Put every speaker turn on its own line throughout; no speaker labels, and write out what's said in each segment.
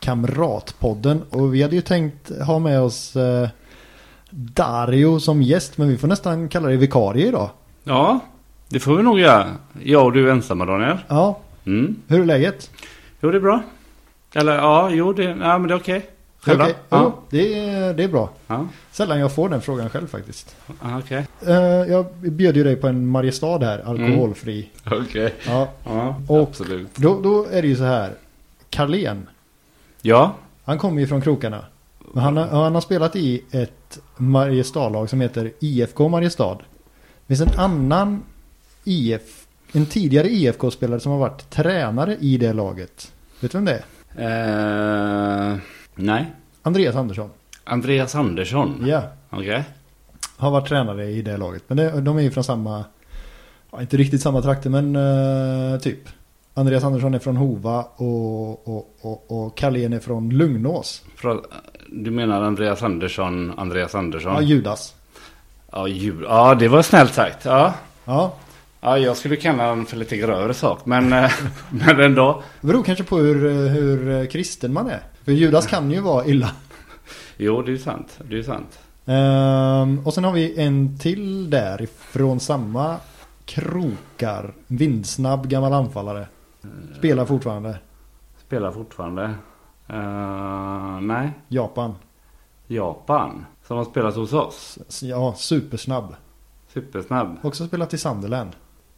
Kamratpodden och vi hade ju tänkt ha med oss eh, Dario som gäst men vi får nästan kalla dig vikarie idag.
Ja, det får vi nog göra. Jag och du ensamma Daniel.
Ja,
Mm.
hur är läget?
Jo, det är bra. Eller ja, jo, det, ja, men det är okej.
Det är
Själva?
okej? Jo,
Ja.
det, är, det är bra.
Ja,
Sällan jag får den frågan själv faktiskt.
ja, okej.
Eh, jag bjöd ju dig på en Mariestad här, alkoholfri.
Okej.
Ja,
Ja,
Och-
absolut.
då, då är det ju så här. Carlén,
Ja,
han kommer ju från krokarna. Men han, har- han har spelat i ett Mariestadlag som heter IFK Mariestad. Det finns en annan IF, en tidigare IFK-spelare som har varit tränare i det laget. Vet du vem det är?
eh, nej.
Andreas Andersson.
Andreas Andersson.
Ja,
Okej.
har varit tränare i det laget. Men det, de är ju från samma, ja, inte riktigt samma trakter men eh, typ. Andreas Andersson är från Hova och, och, och, och Carlén är från Lugnås.
Från- Du menar Andreas Andersson, Andreas Andersson?
Ja, Judas.
Ja, jul. Ja, det var snällt sagt. Ja.
Ja,
ja, jag skulle kalla honom för lite grövre sak, men, eh, men ändå.
det beror kanske på hur, eh, hur kristen man är. För Judas kan ju vara illa.
Jo, det är sant. Det är sant.
Ehm, och sen har vi en till där ifrån samma krokar. Vindsnabb gammal anfallare. Spelar fortfarande.
Spelar fortfarande. Eh, nej,
Japan.
Japan. Som har spelat hos oss.
S- Ja, supersnabb.
Supersnabb.
Också spelat i Sunderland.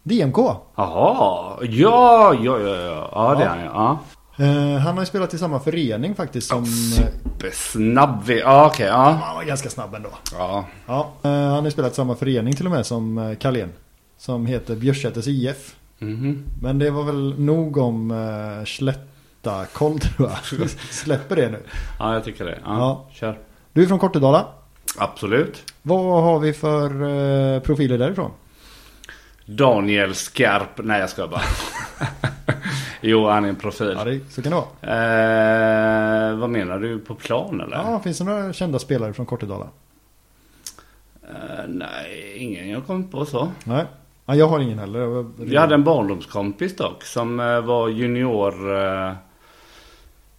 DMK.
Jaha, ja, ja, ja, ja. Ja, det är han ja. ja.
Eh, han har ju spelat i samma förening faktiskt som... eh,
Supersnabb. vi- Ja, okej. ja.
Han var ganska snabb ändå.
ja.
Ja, eh, han har ju spelat i samma förening till och med som eh, Carlén. Som heter Björsäters IF.
Mhm.
Men det var väl nog om uh, Slättakoll tror jag. Vi Släpper det nu.
Ja, jag tycker det. Ja,
Ja.
Kör.
Du är från Kortedala.
Absolut.
Vad har vi för eh, profiler därifrån?
Daniel Skarp. Nej, jag ska bara. jo, han är en profil.
Ja, det, så kan det vara.
Eh, vad menar du? På plan eller?
Ja, finns det några kända spelare från Kortedala?
Eh, nej, ingen jag kom på så.
Nej. Ja, jag har ingen heller. Jag-
Jag hade en barndomskompis dock som eh, var junior. Eh,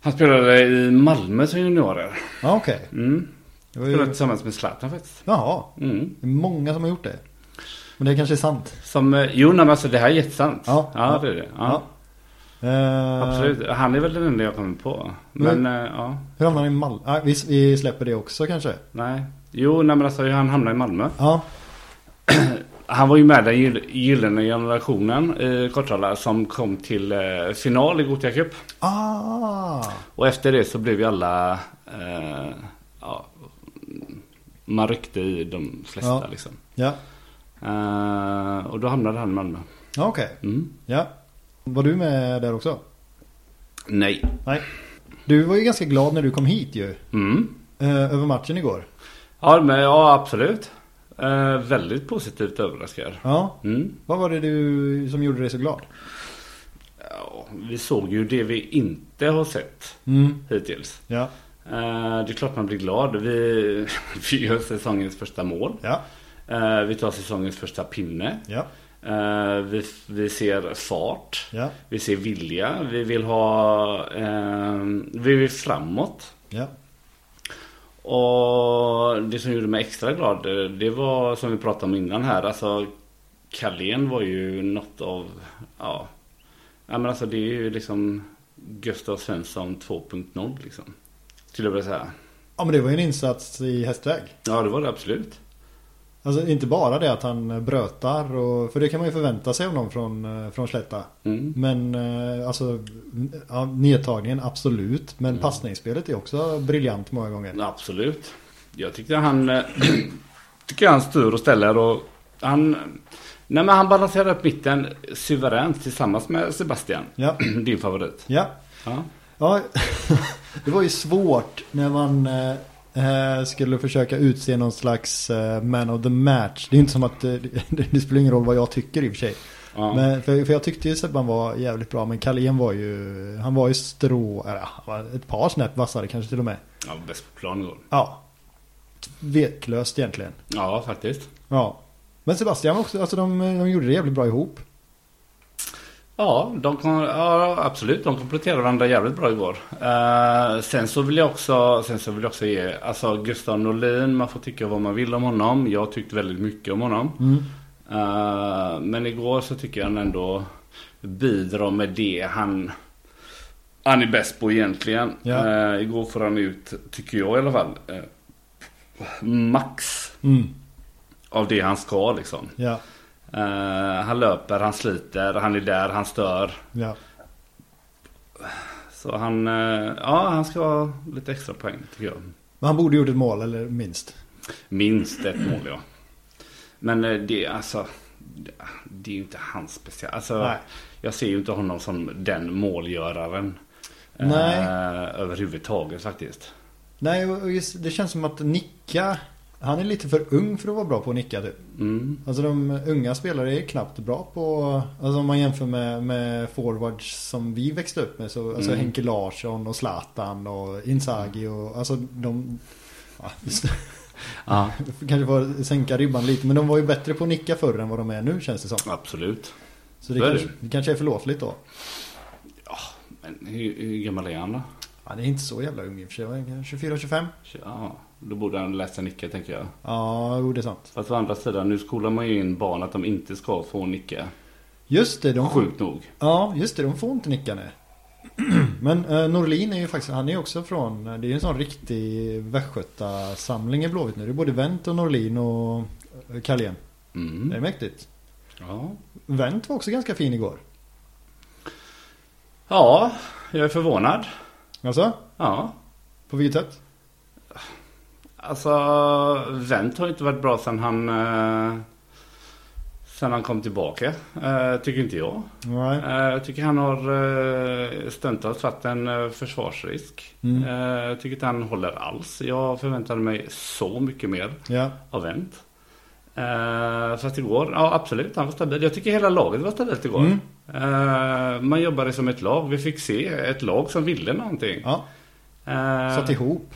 han spelade i Malmö som juniorer.
Ja, okej.
Mm.
Det var
Spelade
ju...
tillsammans med Zlatan faktiskt.
Jaha.
Mm.
Det är många som har gjort det. Men det kanske är sant.
Som, eh, jo nej, men alltså det här är jättesant.
Ja.
ja det är det. Ja,
Eh,
Absolut. Han är väl den enda jag kommer på. Men, eh, ja,
Hur hamnar han i Malmö? Ah, vi, vi släpper det också kanske.
nej. Jo nej men alltså han hamnade i Malmö.
Ja,
Han var ju med den gyll- gyllene generationen i Kortralla som kom till eh, final i Gothia Cup.
ah,
Och efter det så blev ju alla... Eh, ja, man ryckte i de flesta
Ja.
liksom.
ja,
Eh, och då hamnade han i Malmö.
ja okej.
Mm.
Ja. Var du med där också?
Nej.
Nej. Du var ju ganska glad när du kom hit ju.
Mm.
eh, Över matchen igår.
Ja, men, ja absolut. Eh, väldigt positivt överraskad.
Ja.
Mm.
Vad var det du som gjorde dig så glad?
Ja, vi såg ju det vi inte har sett
Mm.
hittills.
Ja.
Eh, det är klart man blir glad. Vi, vi gör säsongens första mål.
Ja.
Eh, vi tar säsongens första pinne.
Ja.
Eh, vi, vi ser fart.
Ja.
Vi ser vilja, vi vill ha, eh, vi vill framåt.
Ja.
Och det som gjorde mig extra glad, eh, det var som vi pratade om innan här, alltså Carlén var ju något av, ja, ja men alltså det är ju liksom Gustav Svensson 2.0 liksom. Skulle jag vilja säga.
Ja men det var ju en insats i hästväg.
Ja det var det absolut.
Alltså inte bara det att han eh, brötar och, för det kan man ju förvänta sig av någon från, eh, från Slätta.
Mm.
Men eh, alltså ja, nedtagningen absolut. Men passningsspelet är också briljant många gånger.
Absolut. Jag tyckte han... eh, tycker han styr och ställer och han... Nej men han balanserar upp mitten suveränt tillsammans med Sebastian.
Ja.
Din favorit.
Ja.
Ja.
Ja, det var ju svårt när man eh, eh, skulle försöka utse någon slags eh, man of the match. Det är inte som att eh, det, det spelar ingen roll vad jag tycker i och för sig.
Ja.
Men, för, för jag tyckte ju Sebban var jävligt bra men Kalén var ju, han var ju strå, eller han var ett par snäpp vassare kanske till och med.
ja, bäst på plan igår.
Ja. Tveklöst egentligen.
Ja, faktiskt.
Ja. Men Sebastian var också, alltså de, de gjorde det jävligt bra ihop.
Ja, de kom, ja, absolut. De kompletterade varandra jävligt bra igår. Eh, sen, så vill jag också, sen så vill jag också ge, alltså Gustav Norlin, man får tycka vad man vill om honom. Jag tyckte väldigt mycket om honom. Eh, men igår så tycker jag han ändå bidrar med det han, han är bäst på egentligen.
Ja.
Eh, igår får han ut, tycker jag i alla fall, eh, max
Mm.
av det han ska liksom.
Ja.
Eh, han löper, han sliter, han är där, han stör.
Ja.
Så han, eh, ja han ska ha lite extra poäng tycker jag.
Men han borde gjort ett mål eller minst.
Minst ett mål ja. Men eh, det är alltså, det är ju inte hans speciella. Alltså,
Nej.
jag ser ju inte honom som den målgöraren. eh,
Nej.
överhuvudtaget faktiskt.
Nej, och just, det känns som att nicka. Han är lite för ung för att vara bra på att nicka typ.
Mm.
Alltså de unga spelare är knappt bra på, alltså om man jämför med, med forwards som vi växte upp med. Så, alltså
Mm.
Henke Larsson och Zlatan och Inzaghi och alltså de, ja, just,
Ja.
kanske får sänka ribban lite. Men de var ju bättre på att nicka förr än vad de är nu känns det som.
Absolut.
Så det,
Så är
kanske, det kanske är förlåtligt då.
Men hur, hur gammal är han då?
Ja, det är inte så jävla ung i och för sig. Vad är han, 24-25?
Ja, då borde han läsa nicka tänker jag.
Ja, jo det är sant.
Fast å andra sidan, nu skolar man ju in barn att de inte ska få nicka.
Just det, de,
Sjukt nog.
ja, just det, de får inte nicka nu. Men eh, Norlin är ju faktiskt, han är ju också från, eh, det är ju en sån riktig västgötasamling i Blåvitt nu. Det är både Wendt och Norlin och eh, Carlén. Det är
Mm.
mäktigt.
Ja.
Wendt var också ganska fin igår.
ja, jag är förvånad.
Alltså?
Ja,
På vilket sätt?
alltså Wendt har ju inte varit bra sen han eh, sen han kom tillbaka. Eh, tycker inte jag.
Nej.
Eh, jag tycker han har eh, stundtals varit en eh, försvarsrisk.
Mm.
Eh, jag tycker inte han håller alls. Jag förväntade mig så mycket mer
Ja.
av Wendt. Eh, fast igår, ja absolut, han var stabil. Jag tycker hela laget var stabilt igår.
Mm.
Eh, man jobbade som ett lag. Vi fick se ett lag som ville någonting.
ja.
Eh,
Satt ihop.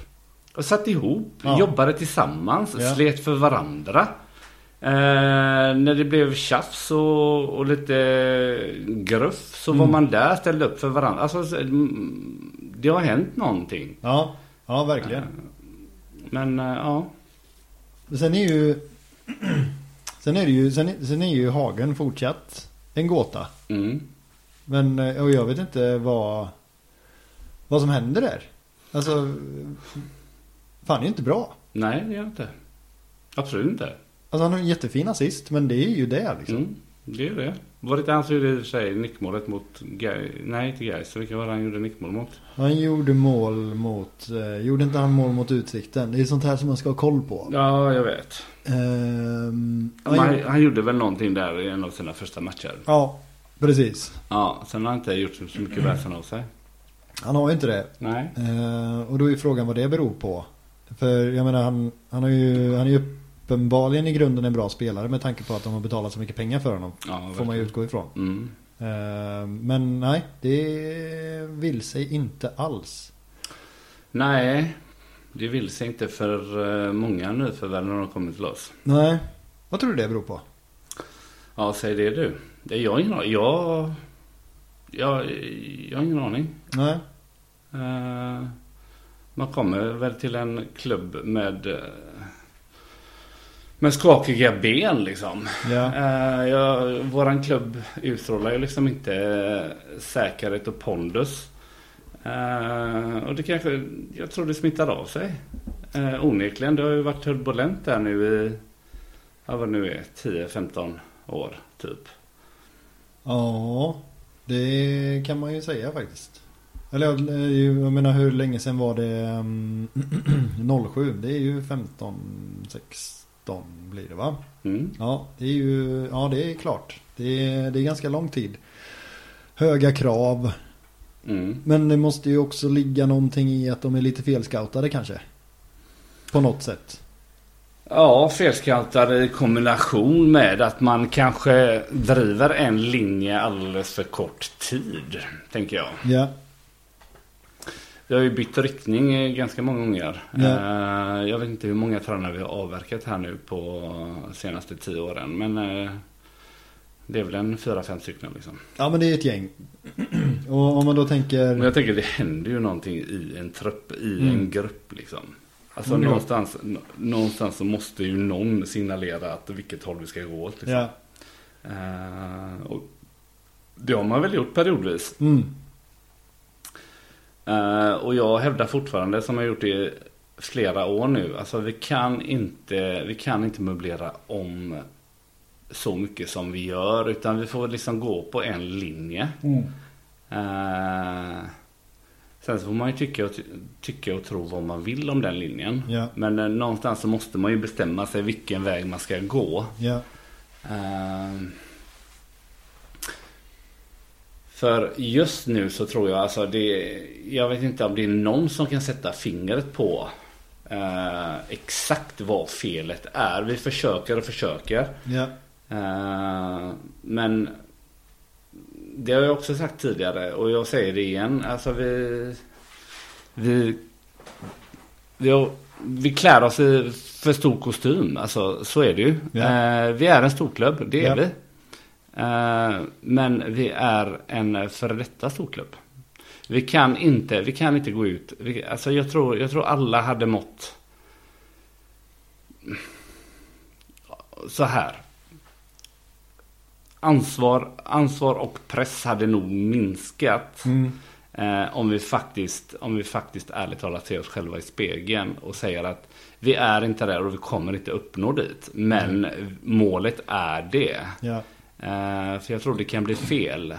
Och satt ihop,
Ja.
jobbade tillsammans,
Ja.
slet för varandra. Eh, när det blev tjafs och, och lite gruff så var man där, ställde upp för varandra. Alltså, så- mm, det har hänt någonting.
Ja. Ja, verkligen.
Men eh, ja,
Sen är ju Sen är det ju Sen är, sen är ju Hagen fortsatt En gåta
mm.
Men eh, och jag vet inte vad Vad som händer där Alltså Fan det är inte bra
nej det gör jag inte. Absolut inte.
Alltså han har en jättefin assist Men det är ju det liksom
Mm. Det är det. Var det inte han som gjorde i och för sig nickmålet mot Gais? Nej, inte Gais. Vilka var det han gjorde nickmål mot?
Han gjorde mål mot eh, Gjorde inte han mål mot utsikten Det är sånt här som man ska ha koll på
Ja, jag vet.
Ehm, han
Han,
gjorde-
han gjorde väl någonting där i en av sina första matcher.
Ja Precis
Ja, sen har han inte gjort så mycket väsen av sig.
Han har ju inte det
Nej.
Eh, och då är frågan vad det beror på. För jag menar han, han, har ju, han är ju uppenbarligen i grunden en bra spelare med tanke på att de har betalat så mycket pengar för honom.
Ja,
Får
verkligen.
man ju utgå ifrån.
Mm.
Eh, men nej, det vill sig inte alls.
Nej, det vill sig inte för eh, många nyförvärv när de kommer till oss.
Nej. Vad tror du det beror på?
Ja, säg det du. Det jag har ingen aning. Jag, jag, jag har ingen aning.
Nej.
Eh, man kommer väl till en klubb med, eh, med skakiga ben liksom.
Ja.
Eh, ja, våran klubb utstrålar ju liksom inte eh, säkerhet och pondus. Eh, och det kanske, jag tror det smittar av sig. Eh, onekligen, det har ju varit turbulent där nu i, ja, vad nu är, 10-15 år typ.
Ja. Det kan man ju säga faktiskt. Eller eh, jag menar hur länge sedan var det mm, 07? Det är ju 15, 16 blir det va?
Mm.
Ja, det är ju, ja det är klart. Det är, det är ganska lång tid. Höga krav.
Mm.
Men det måste ju också ligga någonting i att de är lite felscoutade kanske. På något sätt.
Ja, felskaltade i kombination med att man kanske driver en linje alldeles för kort tid. Tänker jag.
Ja.
Vi har ju bytt riktning eh, ganska många gånger.
Ja.
Eh, Jag vet inte hur många tränare vi har avverkat här nu på senaste tio åren. Men eh, det är väl en fyra, fem stycken liksom.
Ja men det är ett gäng. Och om man då tänker...
Men jag tänker det händer ju någonting i en trupp, i
Mm.
en grupp liksom. Alltså
Mm.
någonstans, nå- någonstans så måste ju någon signalera att vilket håll vi ska gå åt. Liksom.
Ja.
Eh, och det har man väl gjort periodvis.
Mm.
Eh, och jag hävdar fortfarande, som jag gjort i flera år nu, alltså vi kan inte, vi kan inte möblera om så mycket som vi gör, utan vi får liksom gå på en linje. Eh, sen så får man ju tycka och, ty- tycka och tro vad man vill om den linjen.
Ja.
Men eh, någonstans så måste man ju bestämma sig vilken väg man ska gå.
Ja.
Ehm. För just nu så tror jag alltså det Jag vet inte om det är någon som kan sätta fingret på eh, Exakt vad felet är. Vi försöker och försöker.
Ja.
Eh, men det har jag också sagt tidigare och jag säger det igen. Alltså vi... Vi, vi, har, vi klär oss i för stor kostym. Alltså så är det ju.
Ja.
Eh, vi är en storklubb, det
Ja.
är vi. Eh, men vi är en före detta storklubb. Vi kan inte, vi kan inte gå ut. Vi, alltså jag tror, jag tror alla hade mått så här. Ansvar, ansvar och press hade nog minskat.
Mm.
Eh, om, vi faktiskt, om vi faktiskt ärligt talat ser oss själva i spegeln och säger att vi är inte där och vi kommer inte uppnå dit. Men målet är det.
Ja.
Eh, för jag tror det kan bli fel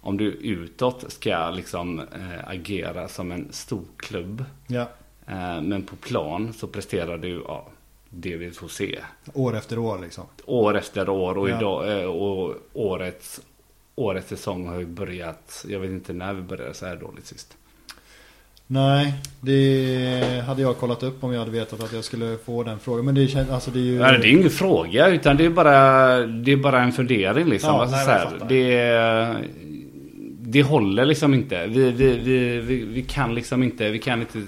om du utåt ska liksom eh, agera som en stor klubb.
Ja.
Eh, men på plan så presterar du ja, det vi får se.
År efter år liksom.
År efter år och,
Ja.
idag, eh, och årets, årets säsong har ju börjat. Jag vet inte när vi började så här dåligt sist.
Nej, det hade jag kollat upp om jag hade vetat att jag skulle få den frågan. Men det känns, alltså det är ju...
Nej, det är ingen fråga utan det är bara, det är bara en fundering liksom.
Ja,
alltså,
nej,
så
jag
här,
fattar.
det, det håller liksom inte. Vi, vi, vi, vi, vi kan liksom inte, vi kan inte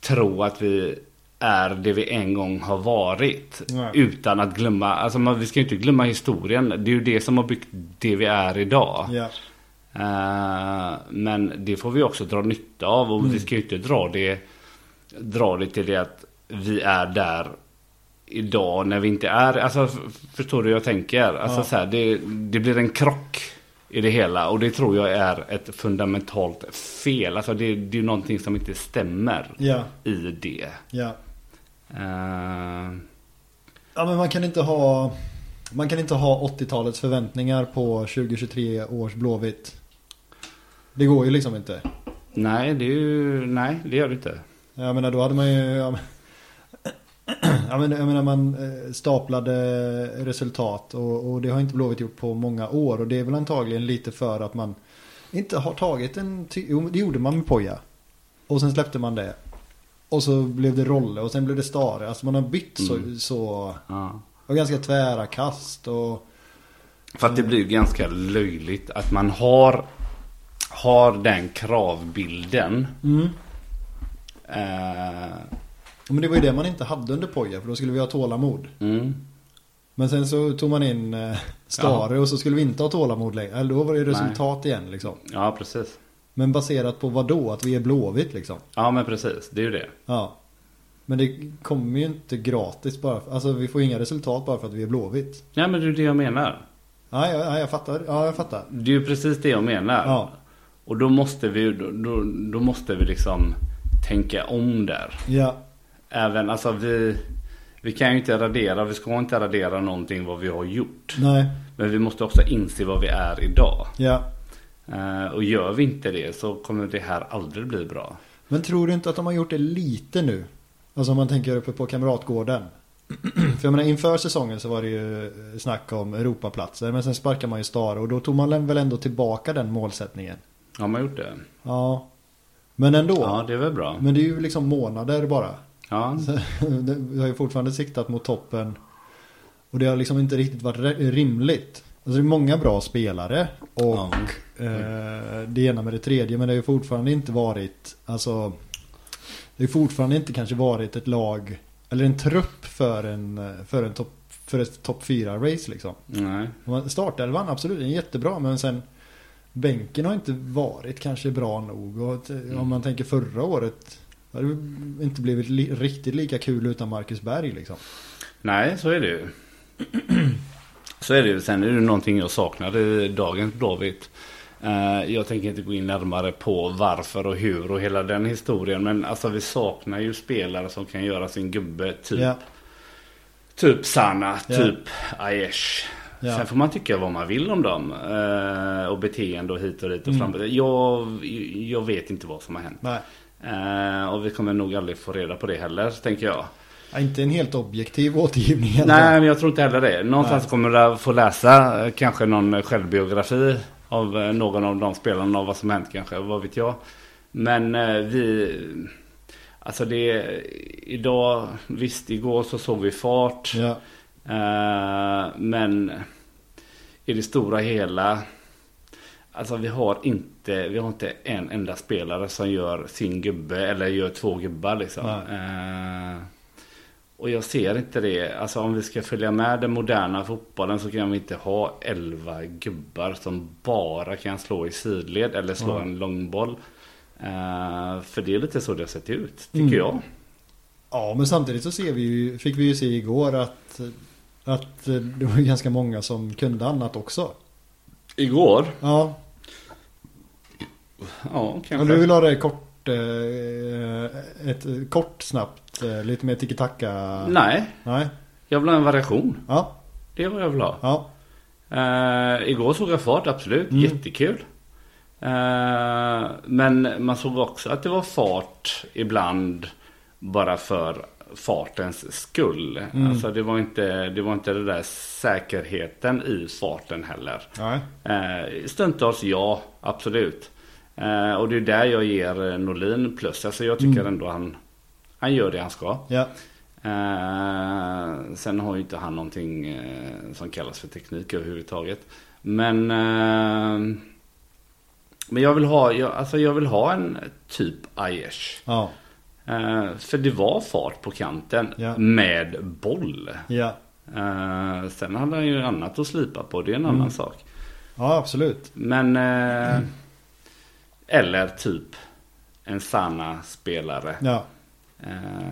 tro att vi är det vi en gång har varit.
Nej.
Utan att glömma, alltså man, vi ska ju inte glömma historien. Det är ju det som har byggt det vi är idag.
Ja.
Eh, men det får vi också dra nytta av och vi ska ju inte dra det, dra det till det att vi är där idag när vi inte är. Alltså, f- förstår du hur jag tänker? Alltså,
Ja.
så här, det, det blir en krock i det hela och det tror jag är ett fundamentalt fel. Alltså, det, det är någonting som inte stämmer
Ja.
i det.
Ja.
Eh,
Ja men man kan inte ha Man kan inte ha 80-talets förväntningar på 2023 års Blåvitt Det går ju liksom inte
nej, det är ju, nej, det gör det inte.
Jag menar då hade man ju ja, men- Ja men jag menar man eh, staplade resultat och, och det har inte Blåvitt gjort på många år och det är väl antagligen lite för att man inte har tagit en ty- Jo men det gjorde man med Poja Och sen släppte man det Och så blev det Rolle och sen blev det Stare Alltså man har bytt så, så
Ja.
och ganska tvära kast och
För att det blir ju ganska löjligt att man har, har den kravbilden. Eh,
Ja, Men det var ju det man inte hade under Poja för då skulle vi ha tålamod.
mm.
Men sen så tog man in eh, Stare och så skulle vi inte ha tålamod längre. Eller då var det ju resultat igen liksom.
Ja, precis.
Men baserat på vad då? Att vi är blåvitt liksom.
Ja, men precis. Det är ju det.
Ja. Men det kommer ju inte gratis bara för, Alltså vi får inga resultat bara för att vi är blåvitt.
Ja, men det är ju det jag menar.
Ja, ja, ja jag fattar. Ja, jag fattar.
Det är ju precis det jag menar.
Ja.
Och då måste vi, då, då, då måste vi liksom tänka om där.
Ja.
Även, alltså vi, vi kan ju inte radera, vi ska inte radera någonting vad vi har gjort.
Nej.
Men vi måste också inse vad vi är idag.
Ja.
Eh, och gör vi inte det så kommer det här aldrig bli bra.
Men tror du inte att de har gjort det lite nu? Alltså om man tänker uppe på Kamratgården. För jag menar inför säsongen så var det ju eh, snack om Europaplatser. Men sen sparkade man ju Stare och då tog man väl ändå tillbaka den målsättningen.
Har man gjort det?
Ja. Men ändå.
Ja, det är väl bra.
Men det är ju liksom månader bara.
Ja,
Så, det- Vi har ju fortfarande siktat mot toppen. Och det har liksom inte riktigt varit re- rimligt. Alltså det är många bra spelare. Och
Ja.
eh, det ena med det tredje. Men det har ju fortfarande inte varit. Alltså. Det har fortfarande inte kanske varit ett lag. Eller en trupp för en. eh, För, en topp för ett topp 4-race liksom.
nej.
Om man- Startelvan absolut, den är jättebra men sen Bänken har inte varit kanske bra nog och att, eh,
Mm.
om man tänker förra året Det hade det inte blivit li- riktigt lika kul utan Marcus Berg liksom
Nej, så är det ju. Så är det ju. Sen är det någonting jag saknar i dagens Blåvitt. Eh, Jag tänker inte gå in närmare på varför och hur och hela den historien. Men alltså vi saknar ju spelare som kan göra sin gubbe. Typ,
Ja,
typ Sana,
Ja.
typ Aiesh.
Ja.
Sen får man tycka vad man vill om dem. eh, Och beteende och hit och dit och
Mm.
fram. Jag, jag vet inte vad som har hänt.
nej
Eh, Och vi kommer nog aldrig få reda på det heller, tänker jag.
Ja, Inte en helt objektiv återgivning i alla fall.
Nej, men jag tror inte heller det. Någonstans
Nej.
kommer du få läsa eh, kanske någon eh, självbiografi av eh, någon av de spelarna och vad som hänt kanske, vad vet jag. Men eh, vi... Alltså det... Idag, visst igår så såg vi fart.
Ja,
Eh, men i det stora hela. Alltså vi har inte, vi har inte en enda spelare som gör sin gubbe eller gör två gubbar liksom. Eh, och jag ser inte det. Alltså om vi ska följa med den moderna fotbollen så kan vi inte ha elva gubbar som bara kan slå i sidled eller slå
Nej.
en långboll. Eh, för det är lite så det har sett ut, tycker
Mm.
jag.
ja men samtidigt så ser vi ju, fick vi ju se igår att Att eh, det var ju ganska många som kunde annat också
Igår?
Ja,
Ja, kanske.
om du vill ha det kort eh, Ett eh, kort snabbt eh, Lite mer tiki-taka
Nej,
Nej
jag vill ha en variation.
Ja,
Det är vad jag vill ha.
ja
Eh, igår såg jag fart, absolut.
Mm.
Jättekul. Eh, men man såg också att det var fart ibland bara för fartens skull.
Mm.
Alltså det var, inte, det var inte den där säkerheten i farten heller.
Nej.
Eh, stundtals ja, absolut. Eh, och det är där jag ger eh, Norlin plus. Alltså jag tycker
Mm.
ändå han, han gör det han ska.
Ja.
Eh, sen har ju inte han någonting eh, som kallas för teknik överhuvudtaget. Men, eh, men jag, vill ha, jag, alltså jag vill ha en typ Aiesh.
Ja.
Eh, för det var fart på kanten
Ja.
med boll.
Ja.
Eh, sen hade han ju annat att slipa på, det är en
Mm.
annan sak.
Ja, absolut.
Men, eh, eller typ en sanna spelare.
Ja.
Eh,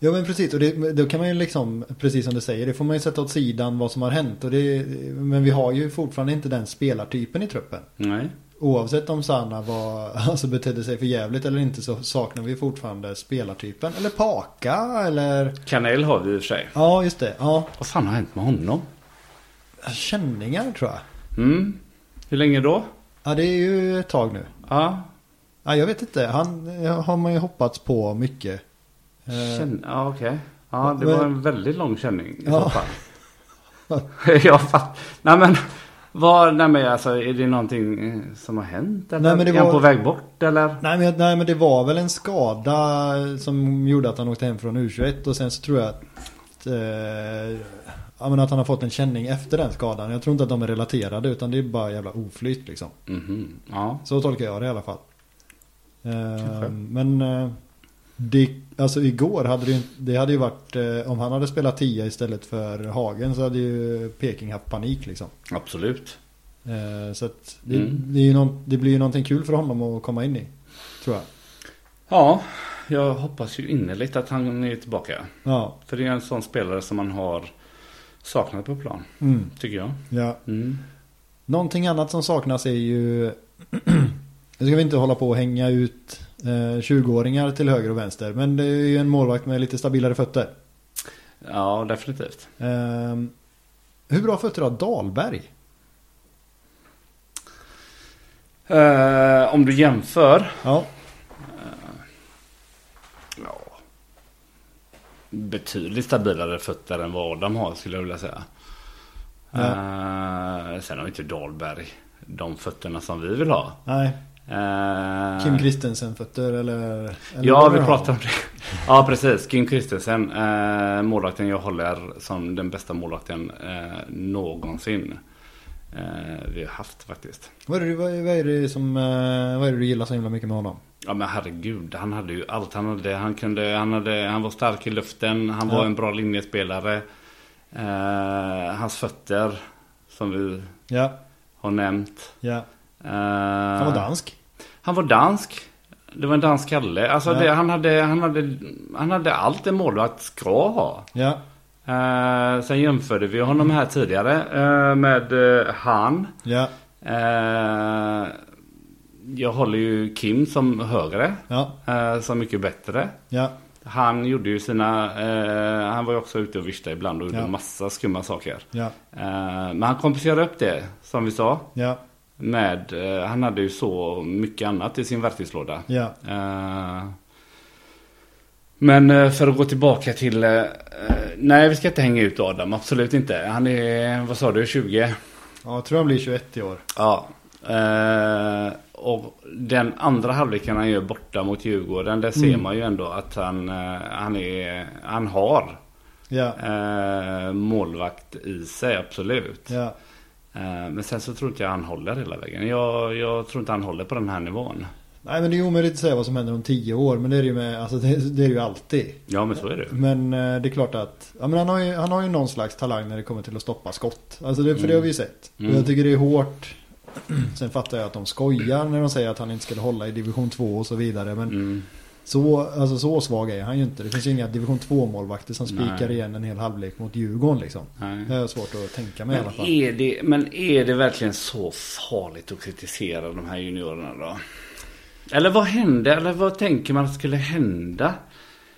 Ja men precis, och det, då kan man ju liksom, precis som du säger, det får man ju sätta åt sidan vad som har hänt. Och det, men vi har ju fortfarande inte den spelartypen i truppen.
nej.
Oavsett om Sanna var, alltså betedde sig för jävligt eller inte så saknar vi fortfarande spelartypen. Eller Paka eller...
Kanel har vi i och för sig.
Ja just det, ja.
Vad fan har hänt med honom?
Känningar tror jag.
Mm. Hur länge då?
Ja det är ju ett tag nu.
Ja,
Ja, jag vet inte, han eh, har man ju hoppats på mycket. Eh,
känn... ja okej. Ja, det
Men-
var en väldigt lång känning i
Ja.
så fall. jag fatt... Nej men, vad, nej men alltså är det någonting eh, som har hänt? Eller?
Nej, men det
Är han
var-
på väg bort eller?
Nej men, nej men det var väl en skada som gjorde att han åkte hem från U21 och sen så tror jag att, eh, ja, men att han har fått en känning efter den skadan. Jag tror inte att de är relaterade utan det är bara jävla oflyt liksom.
Mhm. Ja.
Så tolkar jag det i alla fall. Eh,
Kanske.
men eh, det, alltså igår hade det, ju inte- det hade ju varit, eh, om han hade spelat 10 istället för Hagen så hade ju Peking haft panik liksom.
Absolut.
Eh, så att det,
Mm.
det, är ju någon, det blir ju någonting kul för honom att komma in i. Tror jag.
Ja, jag hoppas ju innerligt att han är tillbaka.
Ja.
För det är en sån spelare som man har saknat på plan,
Mm.
tycker jag.
Ja.
Mm.
Någonting annat som saknas är ju Nu ska vi inte hålla på och hänga ut eh, 20-åringar till höger och vänster Men det är ju en målvakt med lite stabilare fötter
Ja, definitivt.
Ehm, Hur bra fötter har Dahlberg?
Eh, om du jämför
Ja,
Ja. Betydligt stabilare fötter än vad Adam har skulle jag vilja säga.
Ja.
Eh, sen har ju inte Dahlberg de fötterna som vi vill ha.
nej,
Eh,
Kim Christensen-fötter eller? eller
Ja,
vad
vi
var det?
pratar om det. Ja, precis. Kim Christensen. Eh, målvakten jag håller som den bästa målvakten eh, någonsin. Eh, vi har haft faktiskt.
Vad är, det, vad, är, vad, är det som, eh, vad är det du gillar så himla mycket med honom?
Ja men herregud, han hade ju allt han hade. Han, kunde, han, hade, han var stark i luften, han var
Ja.
en bra linjespelare. Eh, hans fötter, som vi
Ja,
har nämnt.
ja.
Eh,
Han var dansk.
Han var dansk. Det var en dansk kalle. Alltså
Ja.
det, han, hade, han, hade, han hade allt en målvakt ska ha.
Ja,
Eh, sen jämförde vi honom här tidigare eh, med eh, han.
ja,
Eh, jag håller ju Kim som högre.
ja,
Eh, som mycket bättre.
ja.
Han gjorde ju sina, eh, han var ju också ute och viftade ibland och gjorde
Ja.
massa skumma saker.
Ja,
Eh, men han kompenserade upp det, som vi sa,
ja,
med, eh, han hade ju så mycket annat i sin verktygslåda.
ja.
Eh, men eh, för att gå tillbaka till, eh, eh, nej vi ska inte hänga ut Adam, absolut inte. Han är, vad sa du, 20?
ja jag tror han blir 21 i år.
Ja. Eh, och den andra halvleken han gör borta mot Djurgården. Där ser
Mm.
man ju ändå att han, eh, han, är, han har
Ja,
eh, målvakt i sig, absolut.
ja.
Eh, men sen så tror inte jag han håller hela vägen. Jag, jag tror inte han håller på den här nivån.
Nej men det är omöjligt att säga vad som händer om 10 år. Men det är det ju, med, alltså, det, det är det ju alltid.
Ja men så är det ju.
Men eh, det är klart att ja, men han, har ju, han har ju någon slags talang när det kommer till att stoppa skott. Alltså det, för det har vi ju sett.
Mm.
Och jag tycker det är hårt. Sen fattar jag att de skojar när de säger att han inte skulle hålla i division 2 och så vidare. Men
Mm.
så, alltså, så svag är han ju inte. Det finns ju inga division 2 målvakter som
Nej.
spikar igen en hel halvlek mot Djurgården liksom.
Nej.
Det har jag svårt att tänka mig i alla
Men
fall.
är, det, men är det verkligen så farligt att kritisera de här juniorerna då? Eller vad hände? Eller vad tänker man skulle hända?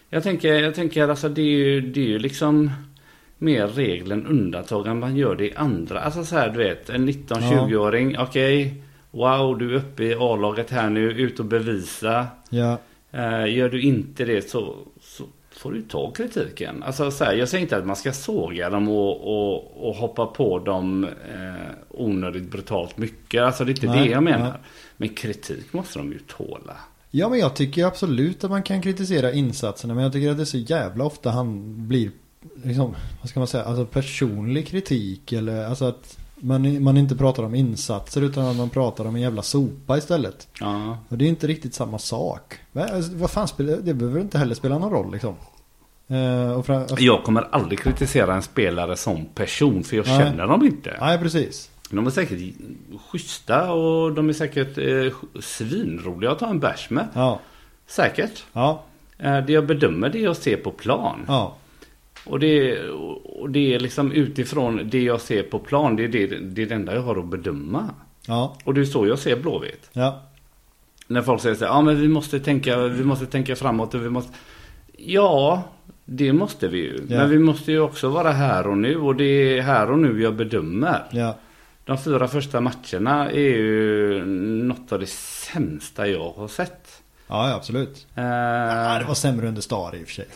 Jag tänker, jag tänker alltså det är ju, det är ju liksom mer regel än undantag än man gör det i andra. Alltså så här du vet, en 19-20-åring, okej, wow du är uppe i A-laget här nu, ut och bevisa.
Ja,
Eh, Gör du inte det så, så får du ta kritiken. Alltså, så här, jag säger inte att man ska såga dem och, och, och hoppa på dem eh, onödigt brutalt mycket. Alltså, det är inte
Nej,
det jag menar.
nej.
Men kritik måste de ju tåla.
Ja men jag tycker absolut att man kan kritisera insatserna men jag tycker att det är så jävla ofta han blir liksom, vad ska man säga, alltså personlig kritik eller alltså att man, man inte pratar om insatser utan att man pratar om en jävla sopa istället.
Ja.
Och det är inte riktigt samma sak. Men, alltså, vad fan spelar, det behöver inte heller spela någon roll liksom. Eh, och fra,
Jag kommer aldrig kritisera en spelare som person för jag
Nej.
känner dem inte.
Nej precis.
De är säkert schyssta och de är säkert eh, svinroliga att ta en bärs med.
Ja,
Säkert.
ja,
Eh, det jag bedömer det jag ser på plan.
ja,
Och det, och det är liksom utifrån det jag ser på plan. Det är det, det, är det enda jag har att bedöma.
ja,
Och det är så jag ser Blåvitt.
ja,
När folk säger så här, ja men vi måste tänka, vi måste tänka framåt och vi måste... Ja, det måste vi ju.
Ja.
Men vi måste ju också vara här och nu och det är här och nu jag bedömer.
ja,
De fyra första matcherna är ju något av det sämsta jag har sett.
ja, ja absolut.
Eh,
Ja, det var sämre under Star i och för sig.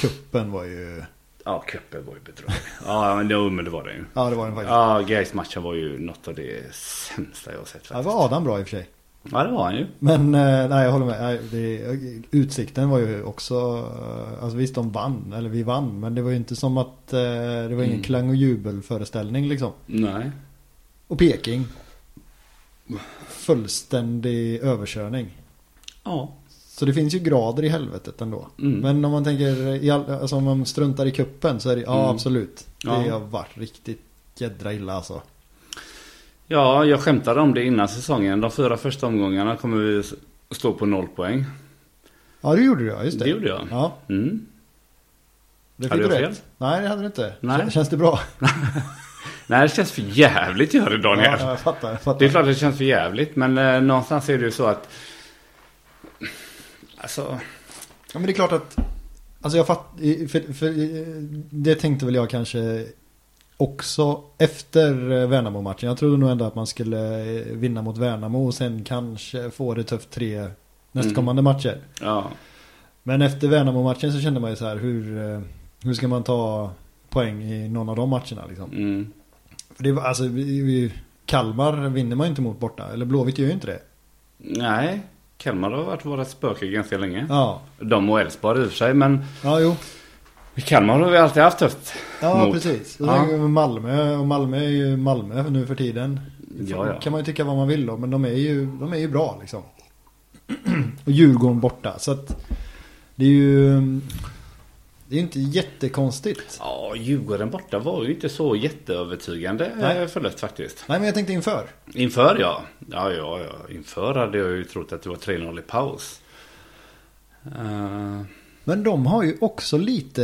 Kuppen var ju,
Ja, cupen var ju bedrövlig. ja, men det, jo, men det var det ju.
ja det var den faktiskt.
Ja, Gais matchen var ju något av det sämsta jag har sett
Ja, det
faktiskt.
var Adam bra i och för sig.
Alltså? Ja, det var han ju.
Men eh, nej, jag håller med. Nej, det, utsikten var ju också, eh, alltså visst de vann, eller vi vann, men det var ju inte som att eh, det var ingen
Mm.
klang och jubelföreställning liksom.
Nej.
Och Peking. Fullständig överkörning.
Ja.
Så det finns ju grader i helvetet ändå.
Mm.
Men om man tänker, i all, alltså om man struntar i kuppen så är det, ja
Mm.
absolut. Det
Ja.
har varit riktigt jädra illa alltså.
Ja, jag skämtade om det innan säsongen. De fyra första omgångarna kommer vi s- stå på noll poäng.
Ja det gjorde du ja, just det.
Det gjorde jag.
Ja,
Mm.
det fick
Hade
du
jag
rätt.
fel?
Nej det hade du inte.
Nej.
K- Känns det bra?
Nej, det känns för jävligt gör det Daniel.
Ja, jag fattar. Jag fattar.
Det är klart det känns för jävligt, men eh, någonstans är det ju så att... Alltså...
Ja men det är klart att Alltså jag fatt, i- för, för, i- Det tänkte väl jag kanske Också efter eh, Värnamo-matchen Jag trodde nog ändå att man skulle eh, vinna mot Värnamo och sen kanske få det tufft tre nästkommande
Mm.
matcher
Ja.
Men efter Värnamo-matchen så kände man ju så här hur eh, Hur ska man ta poäng i någon av de matcherna liksom
Mm. Mm.
För det var alltså vi, vi, Kalmar vinner man ju inte mot borta Eller Blåvitt gör ju inte det
Nej, Kalmar har varit våra spöke ganska länge.
Ja,
De och Elfsborg i och för sig, men
ja jo.
Kalmar har vi alltid haft tufft.
Ja,
mot.
precis. Och
Ja.
sen Malmö, och Malmö är ju Malmö nu för tiden. Liksom,
Ja, ja.
kan man ju tycka vad man vill om, men de är ju, de är ju bra liksom. Och Djurgården borta, så att det är ju... Det är ju inte jättekonstigt.
Ja, Djurgården borta var ju inte så jätteövertygande
Nej.
Nej. förlust faktiskt.
Nej, men jag tänkte inför.
Inför ja. Ja, ja, ja. Inför hade jag ju trott att det var 3-0 i paus. Eh,
Men de har ju också lite,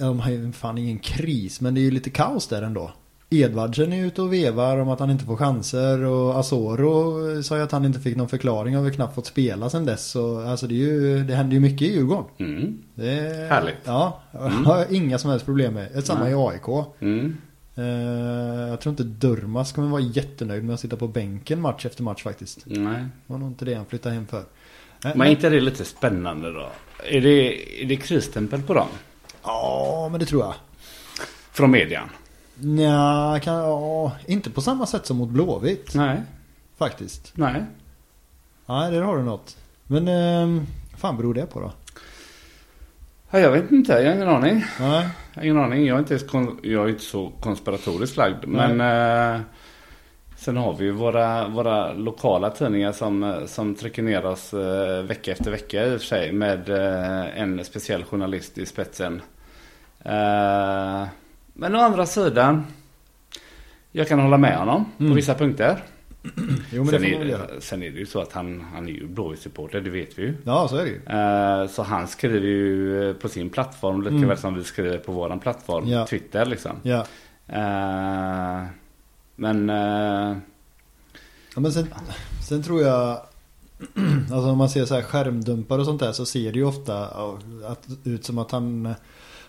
ja, de har ju fan ingen kris, men det är ju lite kaos där ändå. Edvardsen är ute och vevar om att han inte får chanser och Asoro sa ju att han inte fick någon förklaring och har väl knappt fått spela sen dess. Så, alltså det, är ju, det händer ju mycket i Djurgården.
mm,
Det är,
Härligt.
Ja, har jag inga som helst problem med. Ett samma i AIK.
mm.
Eh, jag tror inte Durmas kommer vara jättenöjd med att sitta på bänken match efter match faktiskt. Det
Nej.
var nog inte det han flyttade hem för. Eh,
Men är inte det lite spännande då? Är det, är det krisstämpel på dem?
Ja, men det tror jag.
Från median?
Nja, kan, ja, inte på samma sätt som mot Blåvitt
Nej.
faktiskt.
Nej.
Nej, där har du något. Men eh, fan beror det på då?
Ja, jag vet inte, jag har ingen aning.
Nej,
Jag har ingen aning, jag är inte, kon- jag är inte så konspiratoriskt lagd. Men eh, sen har vi ju våra, våra lokala tidningar som, eh, som trycker ner oss eh, vecka efter vecka i och för sig. Med eh, en speciell journalist i spetsen. Eh, men å andra sidan, jag kan hålla med honom på vissa punkter.
Mm. jo men det får
sen,
man väl
är,
göra.
sen är det ju så att han, han är ju Blåvitt-supporter, det vet vi ju.
Ja, så är det ju.
Eh, Så han skriver ju eh, på sin plattform lika
Mm.
väl som vi skriver på våran plattform,
Ja.
Twitter liksom.
Ja.
Eh, Men eh,
Ja, men sen, sen tror jag Alltså om man ser så här skärmdumpar och sånt där så ser det ju ofta ja, att, ut som att han eh,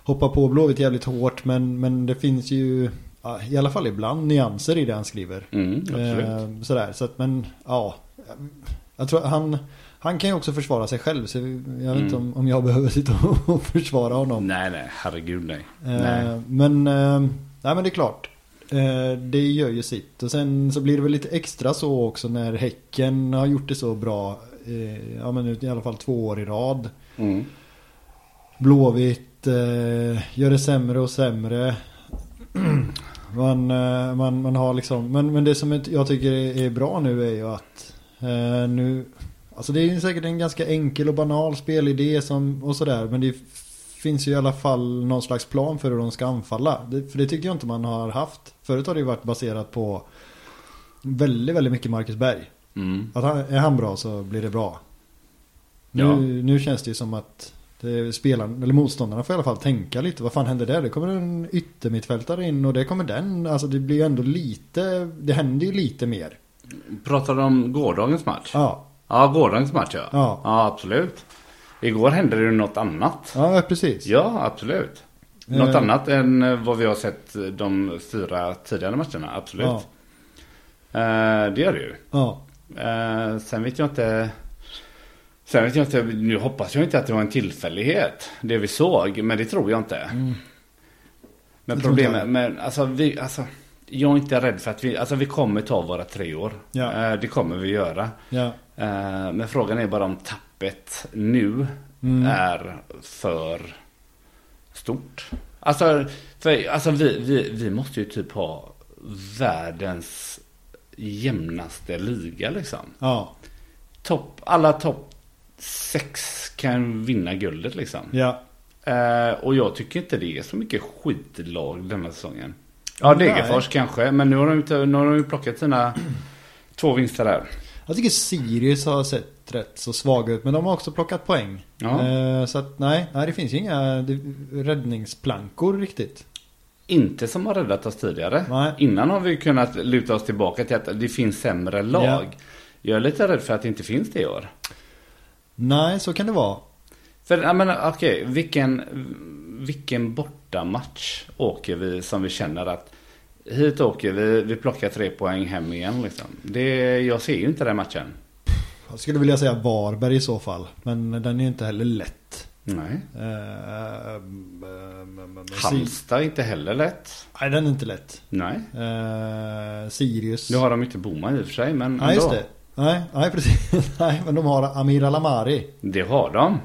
hoppar på Blåvitt jävligt hårt men, men det finns ju ja, i alla fall ibland nyanser i det han skriver.
mm, absolut.
Eh, sådär så att men ja. Jag tror han, han kan ju också försvara sig själv så jag vet
Mm.
inte om, om jag behöver sitta och försvara honom.
Nej nej, herregud nej.
Eh,
nej.
Men, eh, nej, men det är klart. Eh, det gör ju sitt. Och sen så blir det väl lite extra så också när Häcken har gjort det så bra. Eh, ja men i alla fall två år i rad.
Mm.
Blåvitt eh, gör det sämre och sämre. Man, eh, man, man har liksom, men, men det som inte- jag tycker är är bra nu är ju att eh, nu, alltså det är ju säkert en ganska enkel och banal spelidé som, och sådär, men det f- finns ju i alla fall någon slags plan för hur de ska anfalla. Det, för det tycker jag inte man har haft. Förut har det ju varit baserat på väldigt, väldigt mycket Marcus Berg.
Mm.
Att han, är han bra så blir det bra. Nu,
Ja.
nu känns det ju som att det, spelaren, eller motståndarna får i alla fall tänka lite. Vad fan händer där? Det kommer en yttermittfältare in och det kommer den. Alltså det blir ju ändå lite, det händer ju lite mer.
Pratar du om gårdagens match?
Ja,
Ja, gårdagens match ja.
Ja.
absolut. Igår hände det ju något annat.
ja precis.
Ja, absolut. Något
Eh.
annat än eh, vad vi har sett de fyra tidigare matcherna, absolut.
Ja.
Eh, Det gör det ju.
Ja.
Eh, sen vet jag inte. Sen vet jag inte. Nu hoppas jag inte att det var en tillfällighet. Det vi såg. Men det tror jag inte. Men
Mm. Det tror inte
problemet.
jag.
Men alltså, vi, alltså. Jag är inte rädd för att vi. Alltså vi kommer ta våra tre år.
Ja.
Eh, det kommer vi göra.
ja.
Eh, men frågan är bara om tappet nu
Mm.
är för stort. Alltså, för, alltså vi, vi, vi måste ju typ ha världens jämnaste liga liksom.
Ja.
Topp, alla topp sex kan vinna guldet liksom.
Ja.
Eh, och jag tycker inte det är så mycket skitlag denna säsongen. Ja,
Nej.
Degerfors kanske, men nu har de, inte, nu har de ju plockat sina två vinster där.
Jag tycker Sirius har sett rätt så svaga ut. Men de har också plockat poäng.
Ja.
Eh, Så att nej, nej, det finns ju inga det- räddningsplankor riktigt.
inte som har räddat oss tidigare.
Nej.
Innan har vi kunnat luta oss tillbaka till att det finns sämre lag.
Ja.
Jag är lite rädd för att det inte finns det i år.
Nej, så kan det vara.
För jag menar, okej, vilken, vilken bortamatch åker vi som vi känner att hit åker vi, vi plockar tre poäng hem igen liksom. Det, jag ser ju inte den matchen.
Jag skulle vilja säga Varberg i så fall. Men den är ju inte heller lätt.
Nej.
Eh, ehm, ehm, ehm, Si-
Halmstad är inte heller lätt.
Nej, den är inte lätt.
Nej.
Eh, Sirius.
Nu har de inte Boman i och för sig, men
ja, just det. Nej, nej precis. Nej, men de har Amir Alamari.
Det har de.
Mm.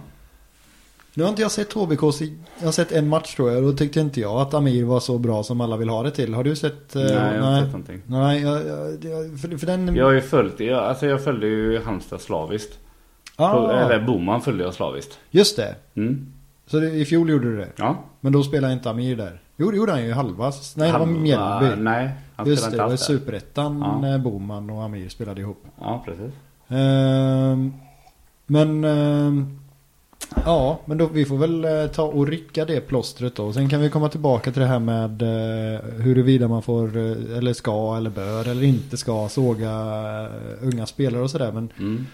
Nu har inte jag sett HBKs, i- jag har sett en match tror jag. Då tyckte inte jag att Amir var så bra som alla vill ha det till. Har du sett? eh,
nej, jag har
nej.
inte sett någonting.
Nej, jag, jag, jag- för, för den...
Jag har ju följt, jag, alltså jag följde ju Halmstad slaviskt. På-
ah,
Eller Boman följde jag slaviskt.
just det.
Mm.
Så det, i fjol gjorde du det.
Ja.
Men då spelade inte Amir där. Jo, det gjorde han ju i halva. Nej, det var
Han-
Mjällby.
Nej, han
Just det,
spelade inte
det var
alls där.
superettan
Ja.
när Boman och Amir spelade ihop.
Ja, precis.
Ehm, men ehm, ja, men då, vi får väl eh, ta och rycka det plåstret då. Sen kan vi komma tillbaka till det här med eh, huruvida man får eh, eller ska eller bör eller inte ska såga eh, unga spelare och sådär. Men
Mm.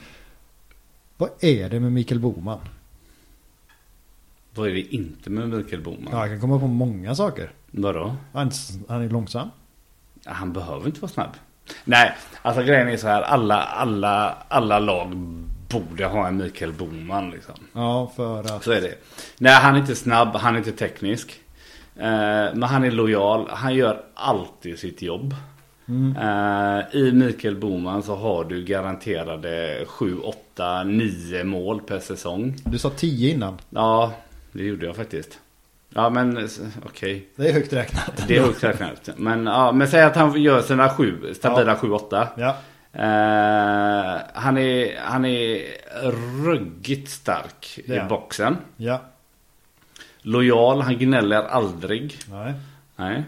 vad är det med Mikael Boman?
Vad är det inte med Mikael Boman?
Ja, jag kan komma på många saker.
Vadå?
Han, han är långsam.
Han behöver inte vara snabb. Nej, alltså grejen är så här. Alla, alla, alla lag borde ha en Mikael Boman liksom.
Ja, för att...
Så är det. Nej, han är inte snabb, han är inte teknisk. Eh, men han är lojal, han gör alltid sitt jobb.
Mm,
Eh, I Mikael Boman så har du garanterade 7, 8, 9 mål per säsong.
du sa 10 innan.
Ja, det gjorde jag faktiskt. Ja, men eh, okej.
Det är högt räknat.
Det är högt räknat. Men, ja, men säg att han gör sina sju, stabila 7-8.
Ja.
Eh, han, är, han är ruggigt stark
Det är
i
han.
boxen.
Ja.
Lojal, han gnäller aldrig.
Nej.
Nej.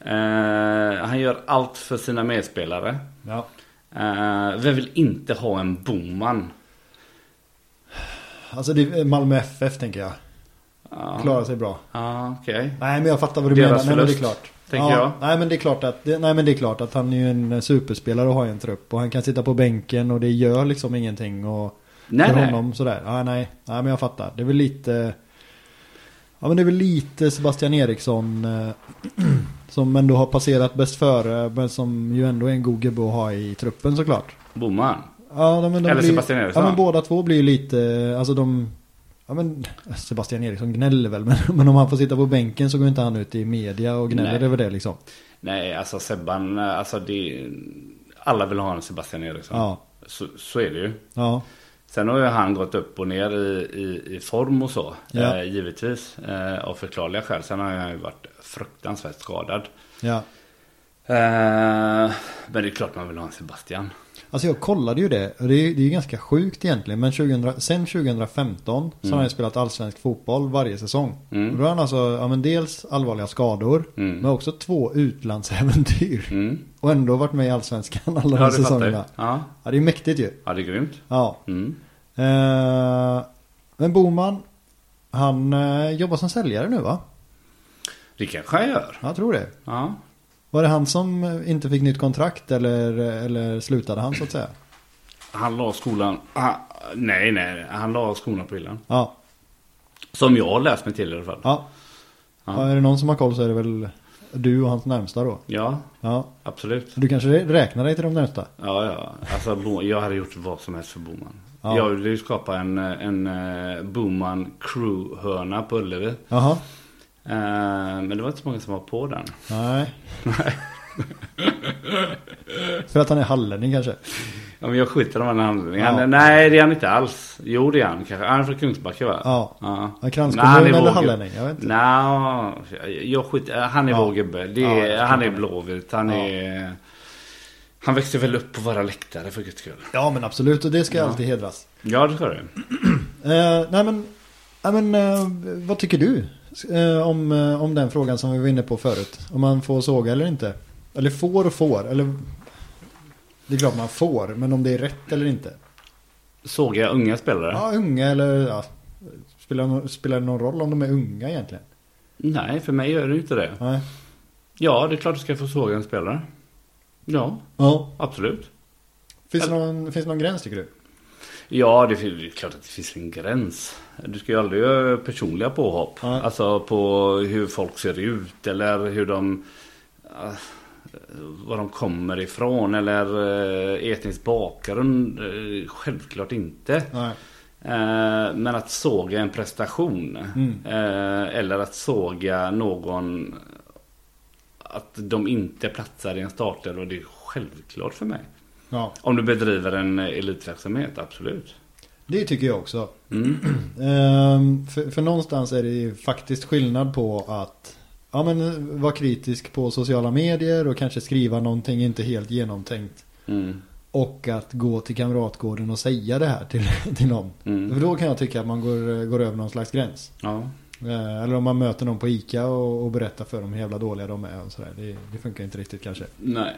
Eh, han gör allt för sina medspelare.
Ja.
Eh, vem vill inte ha en Boman?
Alltså det är Malmö FF tänker jag.
Ja,
Klarar sig bra.
ja okej.
Nej men jag fattar vad du
Deras
menar. Nej, men det är
förlust,
klart.
tänker jag.
Nej men det är klart att, det, nej men det är klart att han är ju en eh, superspelare och har ju en trupp. Och han kan sitta på bänken och det gör liksom ingenting. Och
Nej,
för
nej.
honom sådär. Ja, nej, nej men jag fattar. Det är väl lite... Ja men det är väl lite Sebastian Eriksson. Eh, som ändå har passerat bäst före. Men som ju ändå är en god gubbe att ha i truppen såklart.
Boman.
Ja, de, men de
Eller
blir,
Sebastian Eriksson.
Ja, men båda två blir ju lite, alltså de... Ja, men Sebastian Eriksson gnäller väl, men, men om han får sitta på bänken så går inte han ut i media och gnäller
Nej.
över det liksom.
Nej, alltså Sebban, alltså det... Alla vill ha en Sebastian Eriksson.
Ja.
Så, så är det ju.
Ja,
Sen har ju han gått upp och ner i, i, i form och så.
Ja.
Eh, givetvis. Eh, av förklarliga skäl. Sen har han ju varit fruktansvärt skadad.
ja.
Eh, men det är klart man vill ha en Sebastian.
Alltså jag kollade ju det, och det är, det är ju ganska sjukt egentligen, men 2000, sen 2015 så har han ju spelat allsvensk fotboll varje säsong.
Mm.
Och Då har han alltså, ja men dels allvarliga skador,
Mm.
men också två utlandsäventyr.
Mm.
Och ändå varit med i allsvenskan alla
Ja,
de
det fattar
säsongerna.
jag. Ja.
Ja, det är mäktigt ju.
ja, det är grymt.
Ja.
Mm.
Eh, men Boman, han eh, jobbar som säljare nu va?
Det kanske han gör.
Jag tror det.
Ja.
Var det han som eh, inte fick nytt kontrakt eller, eller slutade han så att säga?
Han la skolan... Ah, nej, nej. Han la skolan på hyllan.
Ja,
Som jag har läst mig till i alla fall.
ja.
Ja.
ja. Är det någon som har koll så är det väl du och hans närmsta då.
Ja,
Ja.
absolut.
Du kanske rä- räknar dig till de närmsta?
Ja, ja. Alltså, Bo- jag hade gjort vad som helst för Boman.
Ja.
Jag ville ju skapa en, eh, en eh, Boman crew-hörna på Ullevi. Eh,
Jaha.
men det var inte så många som var på den.
Nej. För att han är hallänning kanske?
Ja, men jag skiter i de här handlingarna.
Ja.
Han- Nej, det är han inte alls. Jo, det är han kanske. Han är från Kungsbacka va?
Ja.
ja.
Ja,
Nej,
Kranskommun
han är
eller
vågad.
hallänning? Jag vet inte.
Nja, jag skiter Han är
Ja.
vår gubbe. Det
Ja,
är,
jag
han
förstår
är
det.
blåvit. Han
Ja.
är... Han växte väl upp på våra läktare för guds skull.
Ja men absolut och det ska
Ja.
alltid hedras.
Ja, det ska du.
Eh, nej men, nej, men eh, vad tycker du eh, om, eh, om den frågan som vi var inne på förut? Om man får såga eller inte? Eller får och får, eller det är klart man får, men om det är rätt eller inte?
Såg jag unga spelare?
Ja, unga eller ja, spelar, no- spelar det någon roll om de är unga egentligen?
Nej, för mig gör det ju inte det.
Nej.
Ja, det är klart du ska få såga en spelare. Ja,
Ja.
absolut.
Finns det, någon, finns det någon gräns tycker du?
Ja, det, fin- det är klart att det finns en gräns. Du ska ju aldrig göra personliga påhopp.
Nej.
Alltså på hur folk ser ut eller hur de... eh, Var de kommer ifrån eller eh, etnisk bakgrund. eh, Självklart inte.
Nej.
Eh, Men att såga en prestation
Mm.
eh, eller att såga någon att de inte platsar i en startelva det är självklart för mig.
Ja,
Om du bedriver en eh, elitverksamhet, absolut.
det tycker jag också.
Mm.
Ehm, för, för någonstans är det ju faktiskt skillnad på att ja, men, eh, vara kritisk på sociala medier och kanske skriva någonting inte helt genomtänkt.
Mm.
Och att gå till kamratgården och säga det här till, till någon. För
Mm.
då kan jag tycka att man går, går över någon slags gräns.
Ja.
Eh, Eller om man möter någon på ICA och, och berättar för dem hur jävla dåliga de är och sådär. Det, det funkar inte riktigt kanske.
Nej,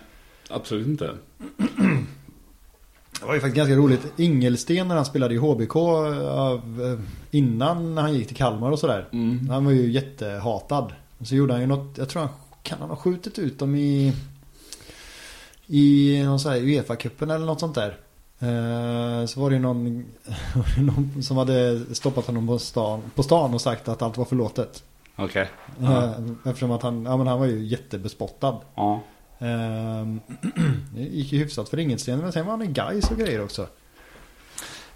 absolut inte.
Det var ju faktiskt ganska roligt. Ingelsten när han spelade i HBK av, eh, innan han gick till Kalmar och sådär.
Mm.
Han var ju jättehatad. Och så gjorde han ju något, jag tror han, kan han ha skjutit ut dem i i någon sån här Uefa-cupen eller något sånt där. Eh, Så var det ju någon, någon som hade stoppat honom på stan, på stan och sagt att allt var förlåtet.
Okej.
Eh, Eftersom att han, ja men han var ju jättebespottad.
Ja.
Eh, Det gick ju hyfsat för Ingelsten men sen var han i guys och grejer också.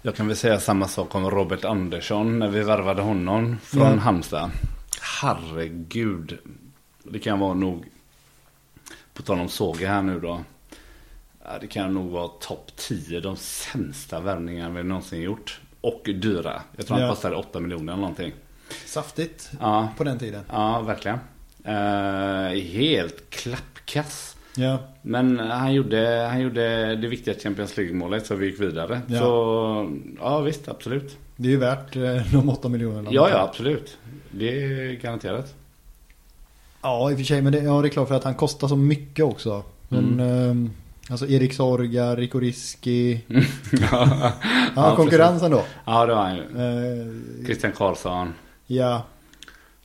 Jag kan väl säga samma sak om Robert Andersson när vi värvade honom från
Ja.
Halmstad. Herregud. Det kan vara nog, på tal om såga här nu då. Ja, Det kan nog vara topp 10 de sämsta värvningarna vi någonsin gjort. Och dyra. Jag tror han
Ja.
kostade 8 miljoner eller någonting.
Saftigt
Ja,
på den tiden.
ja verkligen. Eh, helt klappkass.
Ja,
Men han gjorde, han gjorde det viktiga Champions League-målet så vi gick vidare.
Ja.
Så ja visst, absolut.
det är ju värt eh, de 8 miljonerna.
Ja, ja, absolut. Det är garanterat.
Ja, i och för sig. Men det, ja, det är klart för att han kostar så mycket också. Men, ehm, alltså Erik Sorga, Rico Riski.
Mm. ja,
Ja, konkurrensen då.
precis. Ja, det var han ju.
Eh,
Christian Karlsson
ja,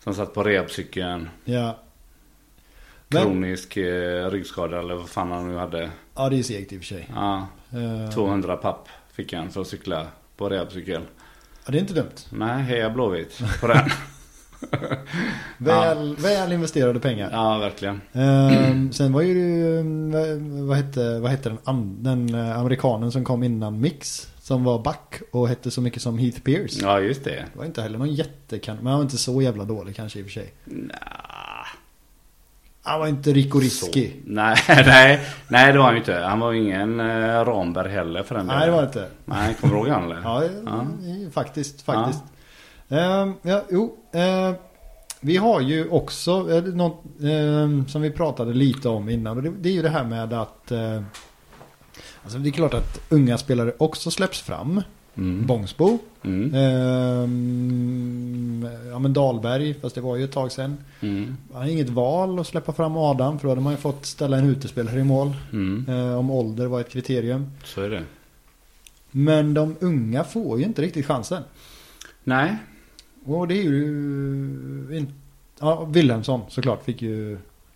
som satt på rehabcykeln.
ja. Men,
Kronisk eh, ryggskada eller vad fan han nu hade.
ja, det är segt i och för sig.
Ja,
Eh,
200 papp fick han för att cykla på rehabcykel.
ja, det är inte dumt.
Nej, heja Blåvitt på den.
Väl, väl investerade pengar.
Ja, verkligen.
Ehm, sen var ju det ju, ehm, vad- vad hette, vad hette den, an, den eh, amerikanen som kom innan Mix. Som var back och hette så mycket som Heath Pierce.
Ja, just det.
Det var inte heller någon jättekan, men han var inte så jävla dålig kanske i och för sig.
Nja.
Han var inte Rico Riski.
Så. Nej, nej, nej det var han ju inte. Han var ju ingen eh, Ramberg heller för den
Nej det var det inte.
Nej, kommer du ihåg han eller?
Ja,
Ja.
eh, faktiskt, faktiskt. Ehm, ja, jo. eh, vi har ju också eh, något ehm, som vi pratade lite om innan. Och det, det är ju det här med att eh, Alltså det är klart att unga spelare också släpps fram.
Mm.
Bångsbo.
Mm.
Ehm, ja men Dahlberg, fast det var ju ett tag sedan.
Mm.
Han har inget val att släppa fram Adam för då hade man ju fått ställa en utespelare i mål.
Mm.
Eh, om ålder var ett kriterium.
Så är det.
Men de unga får ju inte riktigt chansen.
Nej,
Och det är ju... eh, In... Ja, Wilhelmsson såklart fick ju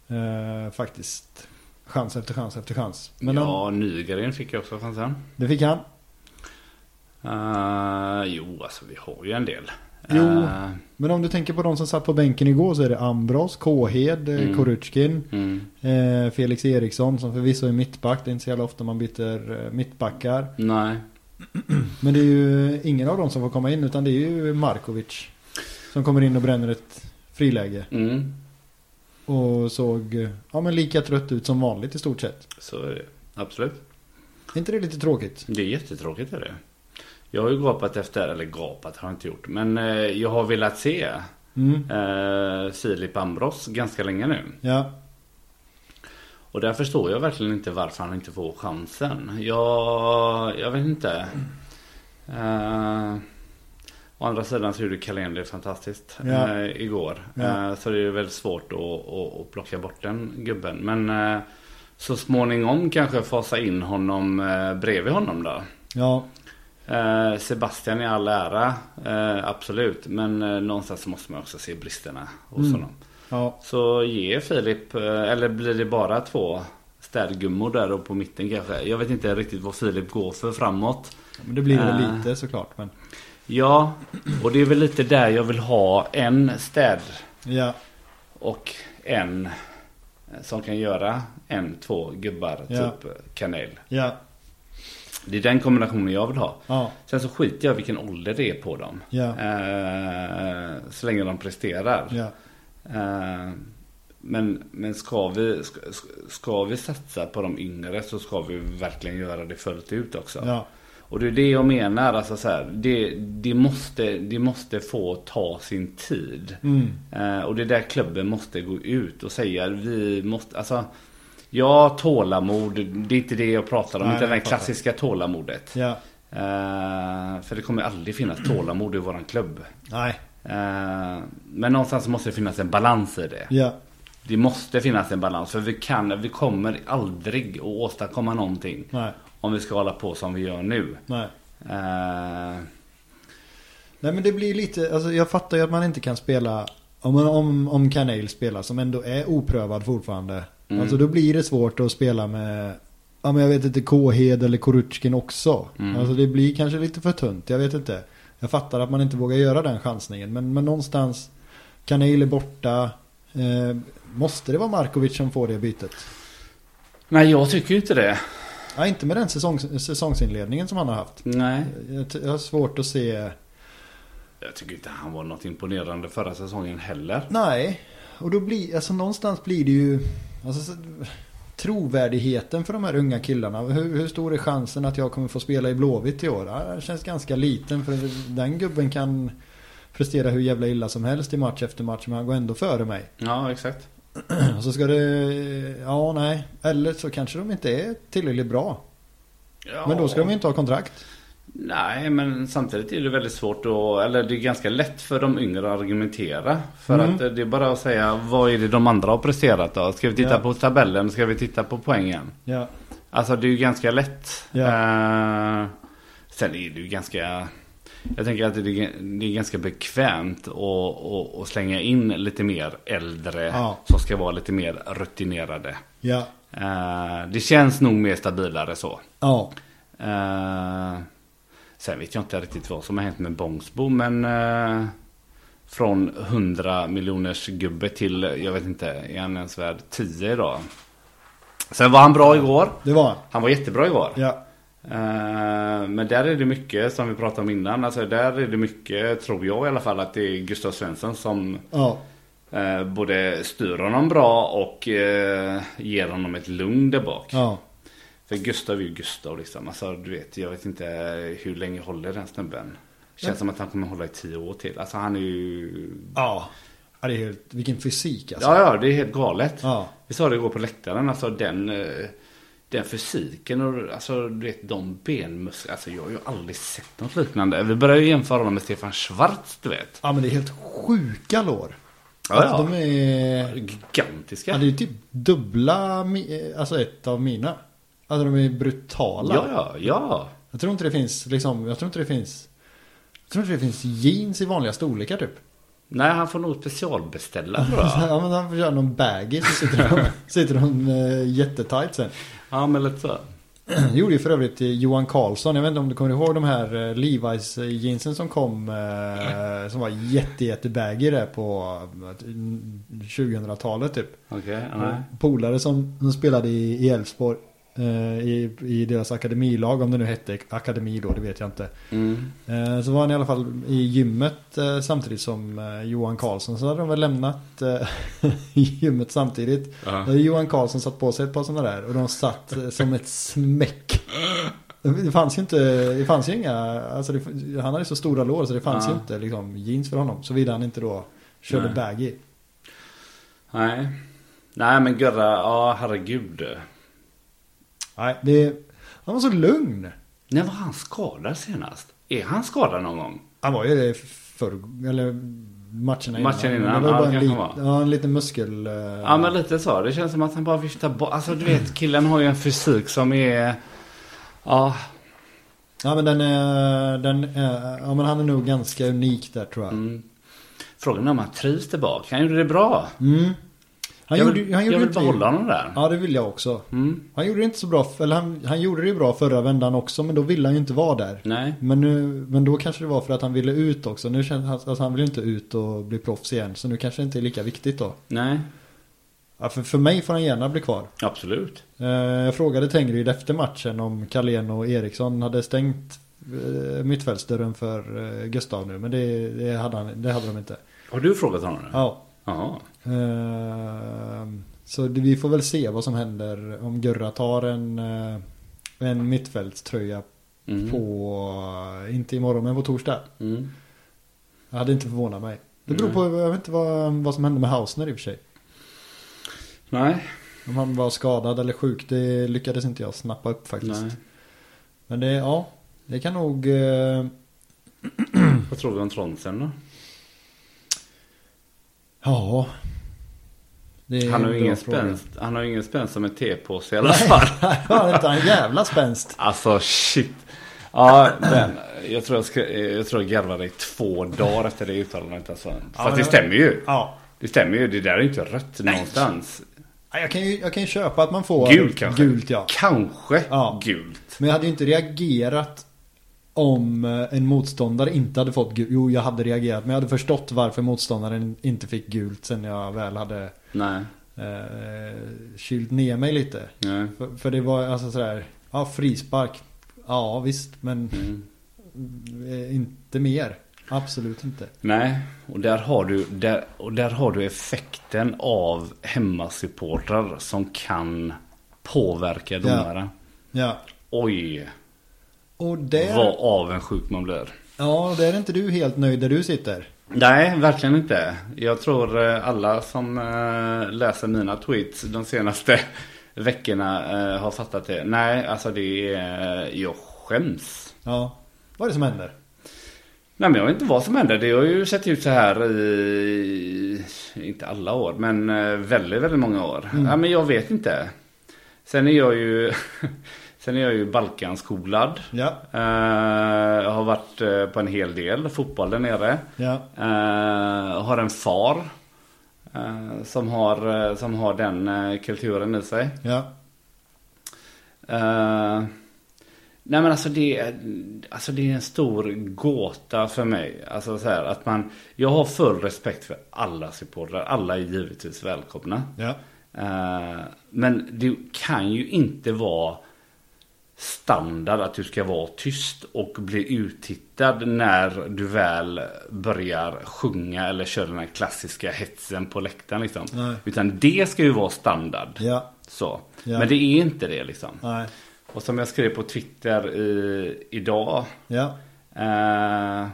eh, faktiskt chans efter chans efter chans. Men
ja,
han,
Nygren fick jag också chansen.
det fick han.
Uh, jo, alltså vi har ju en del.
Jo.
Eh,
Men om du tänker på de som satt på bänken igår så är det Ambros, Kåhed, mm.
Mm.
Korutskin,
mm.
eh, Felix Eriksson som förvisso är mittback. Det är inte så jävla ofta man byter eh, mittbackar.
Nej,
Men det är ju ingen av dem som får komma in utan det är ju Markovic. Som kommer in och bränner ett friläge.
mm.
Och såg eh, ja, men lika trött ut som vanligt i stort sett.
så är det. Absolut.
Är inte det lite tråkigt?
Det är jättetråkigt är det. Jag har ju gapat efter, eller gapat har jag inte gjort, men eh, jag har velat se
Mm.
eh, Filip Ambros ganska länge nu.
Ja,
Och där förstår jag verkligen inte varför han inte får chansen. Jag, jag vet inte. Eh, å andra sidan så gjorde Carlén det fantastiskt
Ja.
eh, igår.
Ja.
Eh, så det är ju väldigt svårt att, att, att plocka bort den gubben. Men eh, så småningom kanske fasa in honom eh, bredvid honom då.
ja,
Eh, Sebastian i all ära, eh, absolut. Men eh, någonstans måste man också se bristerna hos
Mm.
honom.
ja.
Så ge Filip, eh, eller blir det bara två städgummor där och på mitten kanske? Jag vet inte riktigt vad Filip går för framåt.
Men det blir väl
Äh.
lite såklart. Men,
Ja, och det är väl lite där jag vill ha en städ
ja,
och en som kan göra en, två gubbar,
Ja.
typ kanel.
ja,
Det är den kombinationen jag vill ha.
ja,
Sen så skiter jag vilken ålder det är på dem.
ja,
Eh, så länge de presterar.
ja.
Eh, Men, men ska, vi, ska, ska vi satsa på de yngre så ska vi verkligen göra det fullt ut också.
Ja.
Och det är det jag menar. Alltså så här, det, det, måste, det måste få ta sin tid.
Mm.
Eh, och det är där klubben måste gå ut och säga vi måste, alltså Ja, tålamod. Det är inte det jag pratar om.
Nej,
utan
jag
det
fattar.
klassiska tålamodet.
Ja.
Eh, för det kommer aldrig finnas tålamod i våran klubb.
Nej.
Eh, men någonstans måste det finnas en balans i det.
Ja.
Det måste finnas en balans. För vi kan, vi kommer aldrig att åstadkomma någonting.
Nej.
Om vi ska hålla på som vi gör nu.
Nej.
Eh,
Nej men det blir lite, alltså jag fattar ju att man inte kan spela Om, om, om Canale spelar som ändå är oprövad fortfarande
Mm.
Alltså då blir det svårt att spela med Ja men jag vet inte, Kåhed eller Korutskin också
Mm.
Alltså det blir kanske lite för tunt, jag vet inte Jag fattar att man inte vågar göra den chansningen men, men någonstans Canale är borta eh, Måste det vara Markovic som får det bytet?
nej, jag tycker ju inte det.
Ja inte med den säsongs, säsongsinledningen som han har haft
Nej.
jag, jag har svårt att se
Jag tycker inte han var något imponerande förra säsongen heller.
Nej, och då blir, alltså någonstans blir det ju, alltså, så- trovärdigheten för de här unga killarna. Hur, hur stor är chansen att jag kommer få spela i Blåvitt i år? Ja, Det känns ganska liten för den gubben kan prestera hur jävla illa som helst i match efter match men han går ändå före mig.
Ja, exakt.
Och så ska det, ja nej, eller så kanske de inte är tillräckligt bra.
Ja.
Men då ska de ju inte ha kontrakt.
Nej, men samtidigt är det väldigt svårt att, eller det är ganska lätt för de yngre att argumentera. För
Mm.
att eh, det är bara att säga, vad är det de andra har presterat då? Ska vi titta
Ja.
på tabellen? Ska vi titta på poängen?
Ja,
Alltså det är ju ganska lätt.
Ja.
Eh, sen är det ju ganska... Jag tänker att det är, det är ganska bekvämt att, att, att slänga in lite mer äldre
Ja.
som ska vara lite mer rutinerade.
ja,
Eh, det känns nog mer stabilare så.
ja.
Eh, sen vet jag inte riktigt vad som har hänt med Bångsbo men eh, från 100 miljoners gubbe till, jag vet inte, är han ens värd 10 idag? Sen var han bra igår.
Det var han.
Han var jättebra igår.
Ja,
Eh, men där är det mycket som vi pratade om innan. Alltså där är det mycket, tror jag i alla fall, att det är Gustav Svensson som
ja,
eh, både styr honom bra och eh, ger honom ett lugn där bak.
ja.
För Gustav är ju Gustav liksom. Alltså du vet, jag vet inte hur länge håller den snubben. Känns som att han kommer hålla i tio år till. Alltså han är ju...
Ja, Ja, det är helt, vilken fysik alltså.
Ja, ja, det är helt galet.
Ja.
Vi sa det igår på läktaren, alltså den, eh, den fysiken och alltså, du vet, de benmusklerna. Alltså jag har ju aldrig sett något liknande. Vi börjar ju jämföra honom med Stefan Schwarz, du vet.
Ja men det är helt sjuka lår.
Ja,
alltså,
ja.
De är...
Gigantiska.
Ja, det är ju typ dubbla, mi- alltså ett av mina. Alltså de är brutala.
ja, ja, ja.
Jag tror inte det finns liksom, jag tror inte det finns. Jag tror inte det finns jeans i vanliga storlekar typ.
Nej, han får nog specialbeställa tror jag.
Ja men han får göra någon baggy så sitter de, sitter de eh, jättetajt sen.
Ja, men lite så.
Det gjorde ju för övrigt till Johan Karlsson. Jag vet inte om du kommer ihåg de här eh, Levi's eh, jeansen som kom. Eh, som var jätte jätte baggy där på eh, 2000-talet typ.
Okej, nej.
Polare som, som spelade i i Elfsborg. eh, I, I deras akademilag, om det nu hette akademi då, det vet jag inte.
Mm.
Eh, Så var han i alla fall i gymmet eh, samtidigt som eh, Johan Karlsson. Så hade de väl lämnat eh, gymmet samtidigt.
Ja.
Då hade Johan Karlsson satt på sig ett par sådana där och de satt eh, som ett smäck. Det fanns ju inte, det fanns ju inga, alltså det, han hade så stora lår så det fanns
Ja.
ju inte liksom jeans för honom. Såvida han inte då körde
Nej.
baggy.
Nej. Nej, men Görra, ja herregud.
Nej, det, han var så lugn.
När var han skadad senast? Är han skadad någon gång?
Han var ju det förr, eller matcherna innan.
Matchen innan,
det var
ja,
bara
det
en,
kanske
lit,
han
ja, en liten muskel... eh,
Ja men lite så. Det känns som att han bara viftar bort. Alltså du vet killen har ju en fysik som är... Ja.
Ja men den är, den är, ja men han är nog ganska unik där tror jag.
Mm. Frågan är om han trivs tillbaka. Han gjorde det bra.
Mm. Han
jag
gjorde,
vill,
han gjorde
jag vill
inte-
behålla honom där.
Ja det vill jag också.
Mm.
Han gjorde det inte så bra, eller han, han gjorde det ju bra förra vändan också men då ville han ju inte vara där.
Nej.
Men, nu, men då kanske det var för att han ville ut också. Nu känns han, alltså han vill ju inte ut och bli proffs igen så nu kanske det inte är lika viktigt då.
Nej.
Ja, för, för mig får han gärna bli kvar.
Absolut.
Eh, Jag frågade Tengryd efter matchen om Carlén och Eriksson hade stängt eh, mittfältsdörren för eh, Gustav nu men det, det, hade han, det hade de inte.
Har du frågat honom nu?
Ja.
Jaha.
Ehm, så det, vi får väl se vad som händer om Gurra tar en, eh, en mittfältströja
Mm.
på, eh, inte imorgon men på torsdag.
Mm.
Jag hade inte förvånat mig. Det beror
Nej.
på, jag vet inte vad, vad som hände med Hausner i och för sig.
Nej,
Om han var skadad eller sjuk, det lyckades inte jag snappa upp faktiskt.
nej.
Men det, ja, det kan nog... eh,
Vad tror vi om Trondsen då?
Ja. Det är
Han
en
har, ju
bra
ingen
fråga.
spänst, han har ju ingen spänst som en tepåse i alla fall.
Han har inte en jävla spänst.
Alltså shit. Ja, men jag tror jag, ska, jag, tror jag garvade i två dagar efter det uttalandet. Alltså. Fast
men-
det stämmer ju.
Ja.
Det stämmer ju. Det där är ju inte rött någonstans.
Ja, Jag kan ju, jag kan ju köpa att man får...
Gult kanske.
Gult ja.
Kanske
Ja.
gult.
Men jag hade ju inte reagerat om eh, en motståndare inte hade fått gult. Jo, jag hade reagerat. Men jag hade förstått varför motståndaren inte fick gult sen jag väl hade
Nej.
eh, kylt ner mig lite.
Nej.
För, för det var alltså sådär, ja frispark. Ja visst, men
Mm.
eh, inte mer. Absolut inte.
Nej, och där har du, där, och där har du effekten av hemmasupportrar som kan påverka domaren.
Ja.
Oj,
Och där,
vad avundsjuk man blir.
ja, där är inte du helt nöjd där du sitter.
Nej, verkligen inte. Jag tror eh, alla som eh, läser mina tweets de senaste veckorna eh, har fattat det. Nej, alltså det är... Jag skäms.
Ja. Vad är det som händer?
Nej, men jag vet inte vad som händer. Det har ju sett ut så här i... Inte alla år, men eh, väldigt, väldigt många år. Ja, men jag vet inte. Sen är jag ju... Sen är jag ju Balkanskolad.
Ja.
Eh, jag har varit eh, på en hel del fotboll där nere.
Ja.
Eh, har en far eh, som, har, eh, som har den eh, kulturen i sig.
Ja.
Eh, nej men alltså det, är- alltså det är en stor gåta för mig. Alltså så här, att man, jag har full respekt för alla supportrar. Alla är givetvis välkomna.
Ja.
Eh, men det kan ju inte vara standard att du ska vara tyst och bli uttittad när du väl börjar sjunga eller köra den här klassiska hetsen på läktaren. Liksom.
Nej.
Utan det ska ju vara standard.
Ja.
Så.
Ja.
Men det är inte det liksom.
Nej.
Och som jag skrev på Twitter i, idag
Ja.
Eh,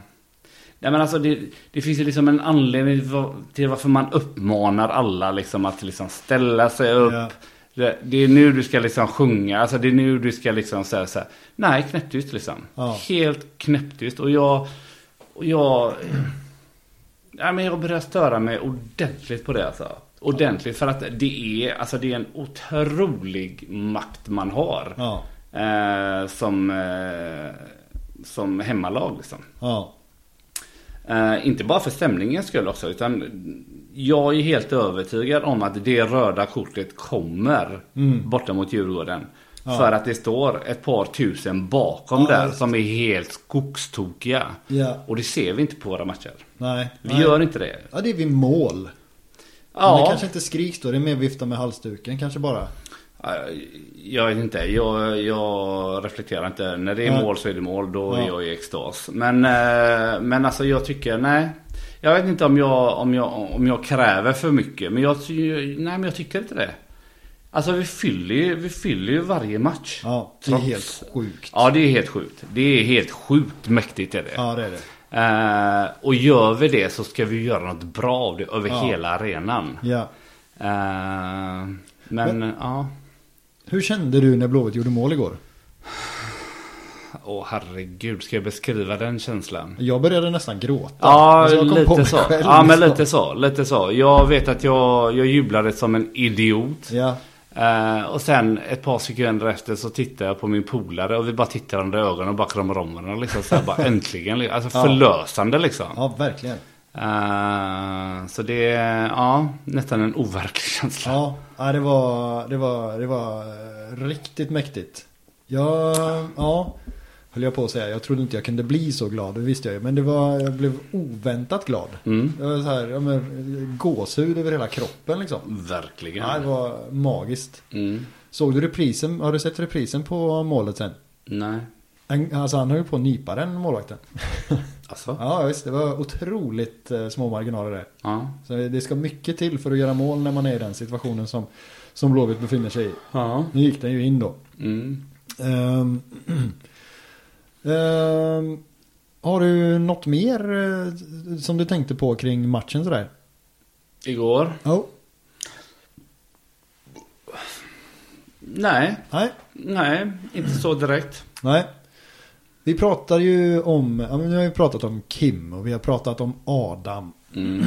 nej men alltså det, det finns ju liksom en anledning till va- till varför man uppmanar alla liksom att liksom ställa sig upp.
Ja.
Det, det är nu du ska liksom sjunga, alltså det är nu du ska liksom säga så här. Nej, knäpptyst liksom.
Ja.
Helt knäpptyst. Och jag, och jag, nej men jag börjar störa mig ordentligt på det alltså. Ordentligt för att det är, alltså det är en otrolig makt man har.
Ja.
Eh, som, eh, som hemmalag. Liksom.
Ja.
Eh, inte bara för stämningens skull också. Utan jag är helt övertygad om att det röda kortet kommer
Mm.
borta mot Djurgården.
Ja.
För att det står ett par tusen bakom
Ja,
där
just.
som är helt skogstokiga.
Ja.
Och det ser vi inte på våra matcher.
Nej.
Vi
Nej.
gör inte det.
Ja, det är vid mål. Men det
Ja,
kanske inte skriks då. Det är mer vifta med halsduken kanske bara.
eh, jag vet inte. Jag, jag reflekterar inte. När det är
Nej.
mål så är det mål. Då
Ja.
är jag i extas. Men, eh, men alltså jag tycker, nej. Jag vet inte om jag, om jag, om jag kräver för mycket. Men jag, ty- nej, men jag tycker inte det. Alltså vi fyller ju, vi fyller ju varje match.
Ja. Det är
Trots-
helt sjukt.
Ja det är helt sjukt. Det är helt sjukt mäktigt är det.
Ja, det är det.
Eh, och gör vi det så ska vi göra något bra av det över
Ja.
hela arenan.
Ja.
Eh, men, men ja.
Hur kände du när Blåvitt gjorde mål igår?
Åh herregud, ska jag beskriva den känslan?
Jag började nästan gråta.
Ja,
Alltså, jag kom på
lite
mig
så.
själv liksom.
Ja, men
nästan.
lite så. Lite så. Jag vet att jag, jag jublade som en idiot.
Ja.
Eh, och sen ett par sekunder efter så tittar jag på min polare och vi bara tittar under ögonen och bara kramar om varandra. Liksom, så här, bara äntligen. li- Alltså
Ja.
förlösande liksom.
Ja, verkligen.
Eh, så det är ja, nästan en overklig känsla.
Ja, ja, det var, det var, det var eh, riktigt mäktigt. Jag, ja, höll jag på att säga. Jag trodde inte jag kunde bli så glad, det visste jag ju. Men det var, jag blev oväntat glad.
Mm.
Jag var så här, ja, men, gåshud över hela kroppen liksom.
Verkligen.
Ja, det var magiskt.
Mm.
Såg du reprisen? Har du sett reprisen på målet sen?
Nej.
Han- Alltså han höll ju på att nypa den målvakten.
Alltså?
Ja, visst. Det var otroligt eh, små marginaler där.
Ja.
Så det ska mycket till för att göra mål när man är i den situationen som, som Blåvitt befinner sig i.
Ja.
Nu gick den ju in då.
Mm.
Ehm, ehm, har du något mer eh, som du tänkte på kring matchen sådär?
Igår?
Jo.
Nej,
Nej.
nej, inte så direkt.
Nej. Vi pratar ju om, ja, men nu har vi pratat om Kim och vi har pratat om Adam.
Mm.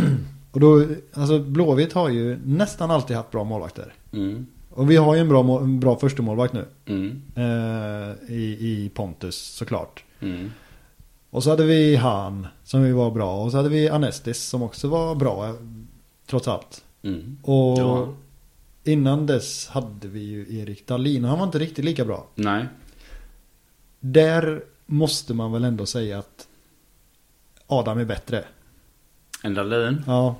Och då, alltså Blåvitt har ju nästan alltid haft bra målvakter.
Mm.
Och vi har ju en bra, må- en bra första målvakt nu.
Mm.
Eh, i, I Pontus såklart.
Mm.
Och så hade vi han som ju var bra. Och så hade vi Anestis som också var bra. eh, Trots allt.
Mm.
Och
Ja.
innan dess hade vi ju Erik Dahlin. Och han var inte riktigt lika bra.
Nej.
Där måste man väl ändå säga att Adam är bättre.
En Dahlin?
Ja.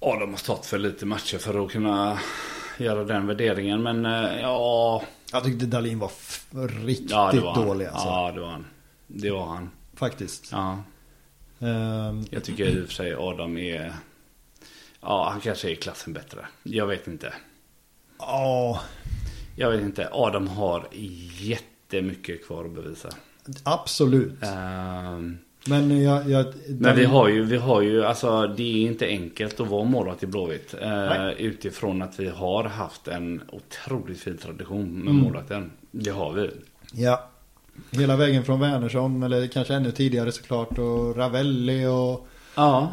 Ja, de har stått för lite matcher för att kunna göra den värderingen. Men eh, ja...
Jag tyckte Dahlin var f- riktigt
ja det var han.
dålig alltså.
Ja, det var han. Det var han.
Faktiskt.
Ja.
Ehm,
Jag tycker i och för sig Adam är... Ja, han kanske är klassen bättre. Jag vet inte.
Ja,
Jag vet inte. Adam har jättemycket kvar att bevisa.
absolut.
Ehm,
Men jag... jag
Men vi har ju, vi har ju, alltså det är inte enkelt att vara målvakt i Blåvitt. Eh,
Nej.
utifrån att vi har haft en otroligt fin tradition med målvakten. Det har vi.
Ja. Hela vägen från Wernersson, eller kanske ännu tidigare såklart, och Ravelli och
Ja.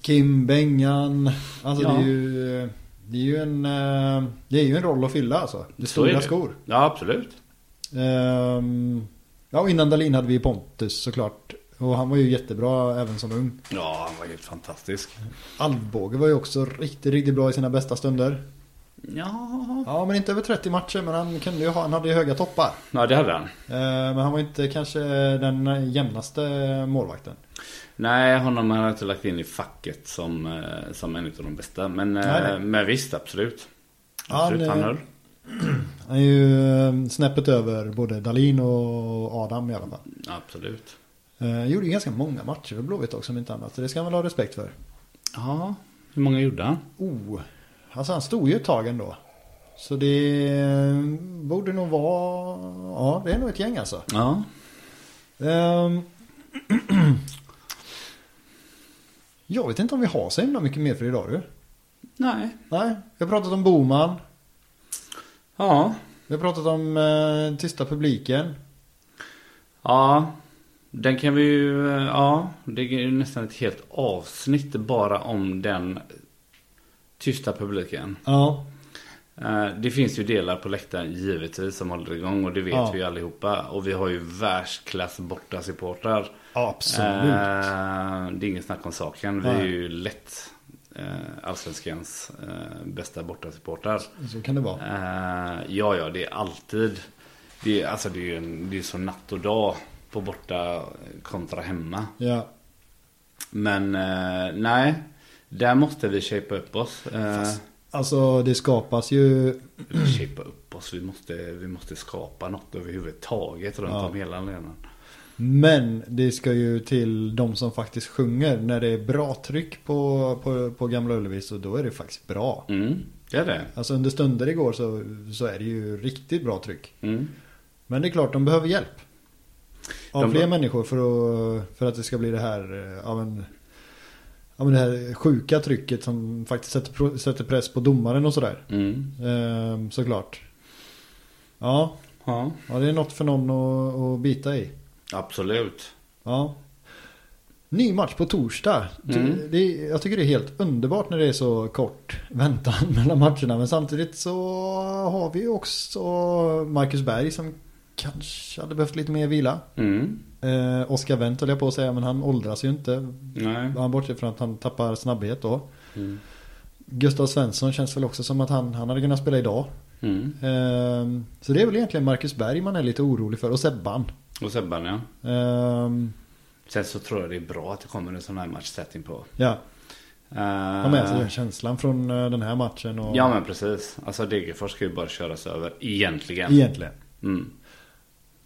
Kim Bengan. Alltså
Ja.
det är ju... Det är ju en... eh, Det är ju en roll att fylla alltså. Det är
Så är
stora
det.
skor.
Ja, absolut.
Ehm, ja, och innan Dahlin hade vi Pontus såklart. Och han var ju jättebra även som ung.
Ja, han var helt fantastisk.
Alvbåge var ju också riktigt, riktigt bra i sina bästa stunder.
Ja.
Ja, men inte över 30 matcher, men han, kunde ju ha, han hade ju höga toppar.
Ja, det hade han.
Eh, Men han var inte kanske den jämnaste målvakten.
Nej, honom har jag inte lagt in i facket som, eh, som en av de bästa. Men, eh,
Nej, nej.
men visst, absolut.
Ja,
Absolut,
nu-
han höll.
Han är ju eh, snäppet över både Dalin och Adam i alla fall.
Absolut.
Eh, gjorde ju ganska många matcher för Blåvitt också om inte annat. Så det ska man väl ha respekt för.
Ja, hur många gjorde han?
Oh, alltså han stod ju ett tag ändå. Så det eh, borde nog vara, ja det är nog ett gäng alltså.
Ja.
Ehm, Jag vet inte om vi har så himla mycket mer för idag du.
Nej.
Nej, vi har pratat om Boman.
Ja.
Vi har pratat om eh, tysta publiken.
Ja, den kan vi ju... Ja, det är ju nästan ett helt avsnitt bara om den tysta publiken.
Ja,
Eh, Det finns ju delar på läktaren givetvis som håller igång och det vet
Ja.
vi ju allihopa. Och vi har ju världsklass borta supportrar.
absolut.
Eh. Det är ingen snack om saken. Vi är
Nej.
ju lätt eh, allsvenskans eh, bästa borta supportrar.
Så kan det vara.
Eh, ja, ja, det är alltid. Det är, alltså, det är ju en, det är så natt och dag på borta kontra hemma.
Ja.
Men eh, nej, där måste vi shapea upp oss. Eh,
Alltså det skapas ju...
vi shapea upp oss. Vi måste, vi måste skapa något överhuvudtaget runt
Ja.
om hela arenan.
Men det ska ju till de som faktiskt sjunger. När det är bra tryck på, på, på Gamla Ullevi så då är det faktiskt bra.
Mm, det är det.
Alltså under stunder igår så, så är det ju riktigt bra tryck.
Mm.
Men det är klart de behöver hjälp. Av
De-
fler människor för att, för att det ska bli det här... eh, Ja, men, ja, men det här sjuka trycket som faktiskt sätter, pro- sätter press på domaren och sådär.
Mm.
Ehm, såklart. Ja,
Ja,
ja, det är något för någon att, att bita i.
absolut.
Ja. Ny match på torsdag. Ty-
Mm.
Det, är- jag tycker det är helt underbart när det är så kort väntan mellan matcherna. Men samtidigt så har vi ju också Marcus Berg som kanske hade behövt lite mer vila.
Mm.
Eh, Oskar Wendt höll jag på att säga, men han åldras ju inte.
Nej.
Han bortsett från att han tappar snabbhet då.
Mm.
Gustav Svensson känns väl också som att han, han hade kunnat spela idag.
Mm.
Ehm, Så det är väl egentligen Marcus Berg man är lite orolig för och Sebban.
Och Sebban ja.
Ehm,
Sen så tror jag det är bra att det kommer en sån här matchsättning på.
Ja,
Uh,
ha med sig den känslan från eh, den här matchen och
Ja men precis. Alltså Degerfors ska ju bara köras över egentligen.
egentligen.
Mm.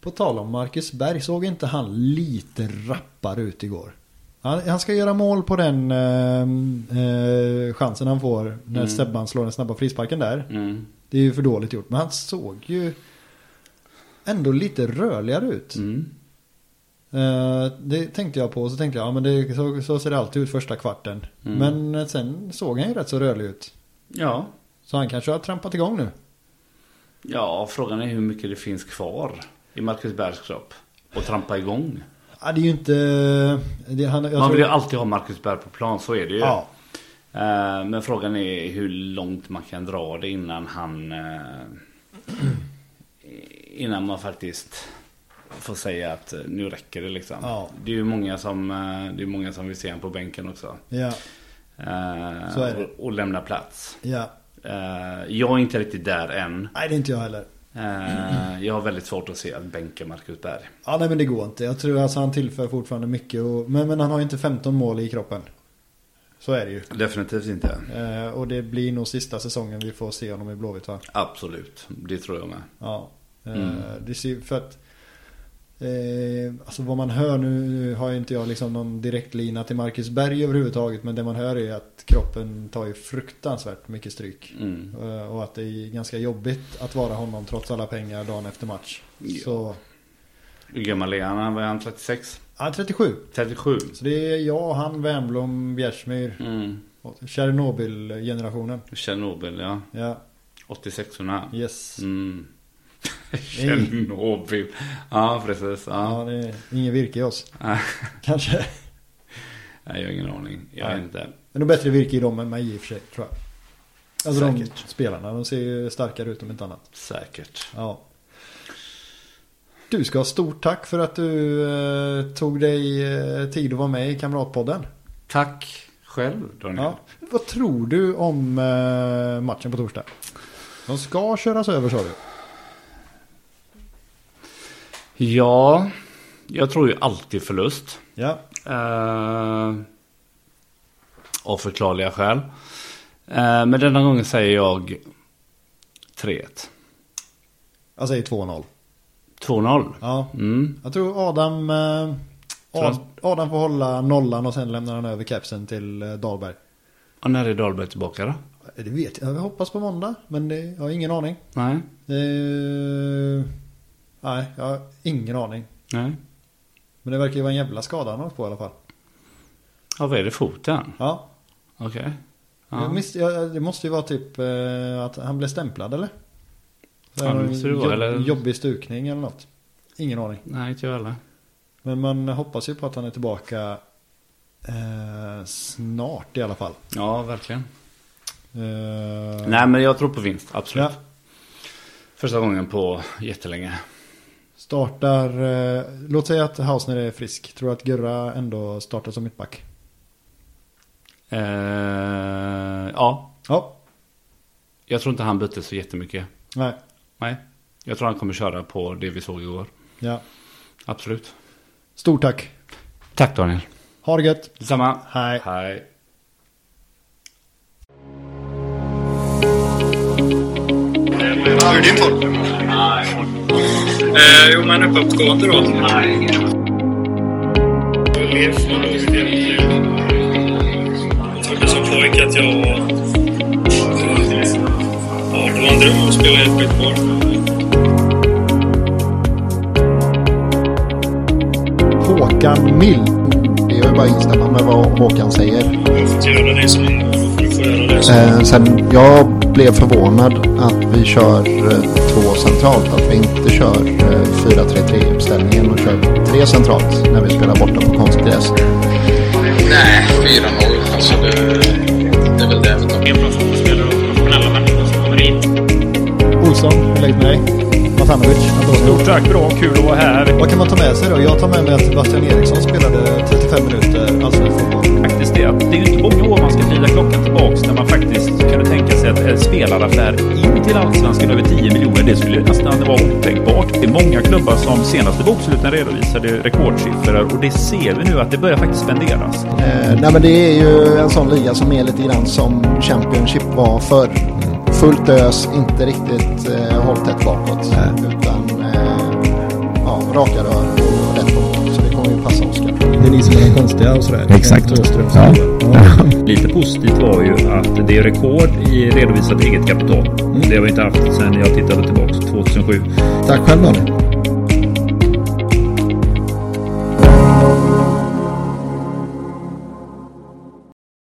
På tal om Marcus Berg, såg inte han lite rappare ut igår? Han, han ska göra mål på den eh, eh, chansen han får när
Mm.
Sebban slår den snabba frisparken där.
Mm.
Det är ju för dåligt gjort, men han såg ju ändå lite rörligare ut.
Mm.
Eh, det tänkte jag på och så tänkte jag, ja men det, så, så ser det alltid ut första kvarten.
Mm.
Men eh, sen såg han ju rätt så rörlig ut.
Ja.
Så han kanske har trampat igång nu.
ja, frågan är hur mycket det finns kvar i Marcus Bergs kropp. Och trampa igång.
Ja, det är ju inte... Det, han, jag
Man
tror-
vill ju alltid ha Marcus Berg på plan, så är det ju.
Ja.
Eh, Men frågan är hur långt man kan dra det innan han... eh, Innan man faktiskt får säga att eh, nu räcker det liksom.
Ja.
Det är ju många som, eh, det är många som vill se honom på bänken också.
Ja,
Eh,
Så är det.
Och, och lämna plats.
ja.
Eh, Jag är inte riktigt där än.
Nej, det är inte jag heller.
Eh, Jag har väldigt svårt att se att bänka Marcus Berg.
Ja, nej men det går inte. Jag tror alltså han tillför fortfarande mycket. Och, men, men han har ju inte 15 mål i kroppen. Så är det ju.
Definitivt inte.
Eh, och det blir nog sista säsongen vi får se honom i Blåvitt va?
Absolut, det tror jag med.
Ja. Eh,
Mm.
Det ser för att... Eh, alltså vad man hör nu, nu har ju inte jag liksom någon direktlina till Marcus Berg överhuvudtaget. Men det man hör är ju att kroppen tar ju fruktansvärt mycket stryk.
Mm.
Eh, Och att det är ganska jobbigt att vara honom trots alla pengar dagen efter match.
Ja.
Så,
Hur gammal är han? Han var han 36?
ja, 37.
37?
Så det är jag, han, Wernbloom, Bjärsmyr.
Mm.
och Tjernobyl-generationen.
Tjernobyl ja.
Ja,
86orna.
yes.
Mm. Tjernobyl. Ja precis.
Ja,
Ja.
det är ingen virke i oss.
Nej,
Kanske.
jag har ingen aning. Jag vet
Nej.
inte.
Men nog bättre virke i dem än mig i och för sig, tror jag. Alltså de
Säkert.
spelarna, de ser ju starkare ut om inte annat.
Säkert.
Ja. Du ska ha stort tack för att du eh, tog dig eh, tid att vara med i Kamratpodden.
Tack själv Daniel.
Ja. Vad tror du om eh, matchen på torsdag? De ska köras över sa du.
ja. Jag tror ju alltid förlust.
Ja.
Eh, av förklarliga skäl. Eh, men denna gången säger jag 3-1.
Jag säger 2-0.
2-0.
Ja.
Mm.
Jag tror Adam... Eh,
Tror
Ad, Adam får hålla nollan och sen lämnar han över kepsen till eh, Dahlberg.
Och när är Dahlberg tillbaka då?
Eh, Det vet jag. Jag hoppas på måndag. Men det, jag har ingen aning.
Nej.
Eh, nej, jag har ingen aning.
Nej.
Men det verkar ju vara en jävla skada han har åkt på i alla fall.
Ja, vad är det? Foten?
Ja.
Okej.
Jag
Ja.
miss, jag, det måste ju vara typ eh, att han blev stämplad eller? Så
Ja,
här,
det
någon
måste det vara,
jobb,
eller-
Jobbig stukning eller något. Ingen aning.
Nej, inte jag heller.
Men man hoppas ju på att han är tillbaka eh, snart i alla fall.
Ja, verkligen.
Eh,
Nej, men jag tror på vinst. Absolut.
Ja.
Första gången på jättelänge.
Startar, eh, låt säga att Hausner är frisk. Tror du att Gurra ändå startar som mittback?
Eh, ja,
Ja,
jag tror inte han bytte så jättemycket.
nej,
Nej, jag tror han kommer köra på det vi såg igår.
ja.
Absolut.
Stort tack.
Tack Daniel.
Ha det gött.
Detsamma.
Hej.
Hej.
Hur är din form? Eh, jo, men uppåtgående då. Jag trodde som pojke att jag var... Ja, det var en dröm att spela i ett skitboll.
Håkan Mild.
Det är ju bara att instämma med vad Håkan säger.
Jag har fått göra det som jag har fått göra det som
Eh, sen jag blev förvånad att vi kör eh, två centralt. Att vi inte kör eh, 4-3-3 uppställningen och kör tre centralt när vi spelar borta på konstgräs.
Nej, 4-0. Alltså det, det är väl det.
jag är. Professionella och professionella människor som kommer hit.
Olsson, hur läget med dig? Matanovic, Antonio.
Stort tack, bra, kul att vara här.
Vad kan man ta med sig då? Jag tar med mig att Sebastian Eriksson spelade 35 minuter allsvensk fotboll.
Faktiskt det, att det är ju inte många år man ska vrida klockan tillbaks när man faktiskt kunde tänka sig att eh, en spelaraffär in till Allsvenskan över 10 miljoner, det skulle ju nästan vara otänkbart. Det är många klubbar som senaste boksluten redovisade rekordsiffror och det ser vi nu att det börjar faktiskt spenderas.
Eh, nej men det är ju en sån liga som är lite grann som Championship var förr. Fullt ös, inte riktigt eh, hållt tätt bakåt. Utan eh, ja,
raka rör och rätt på mål. Så det kommer ju passa Oskar.
Det är ni som är konstiga och sådär.
Exakt.
Kent Åström.
Ja.
Ja.
Lite positivt var ju att det är rekord i redovisat eget kapital. Det har vi inte haft sedan jag tittade tillbaka 2007.
Tack själv Malin.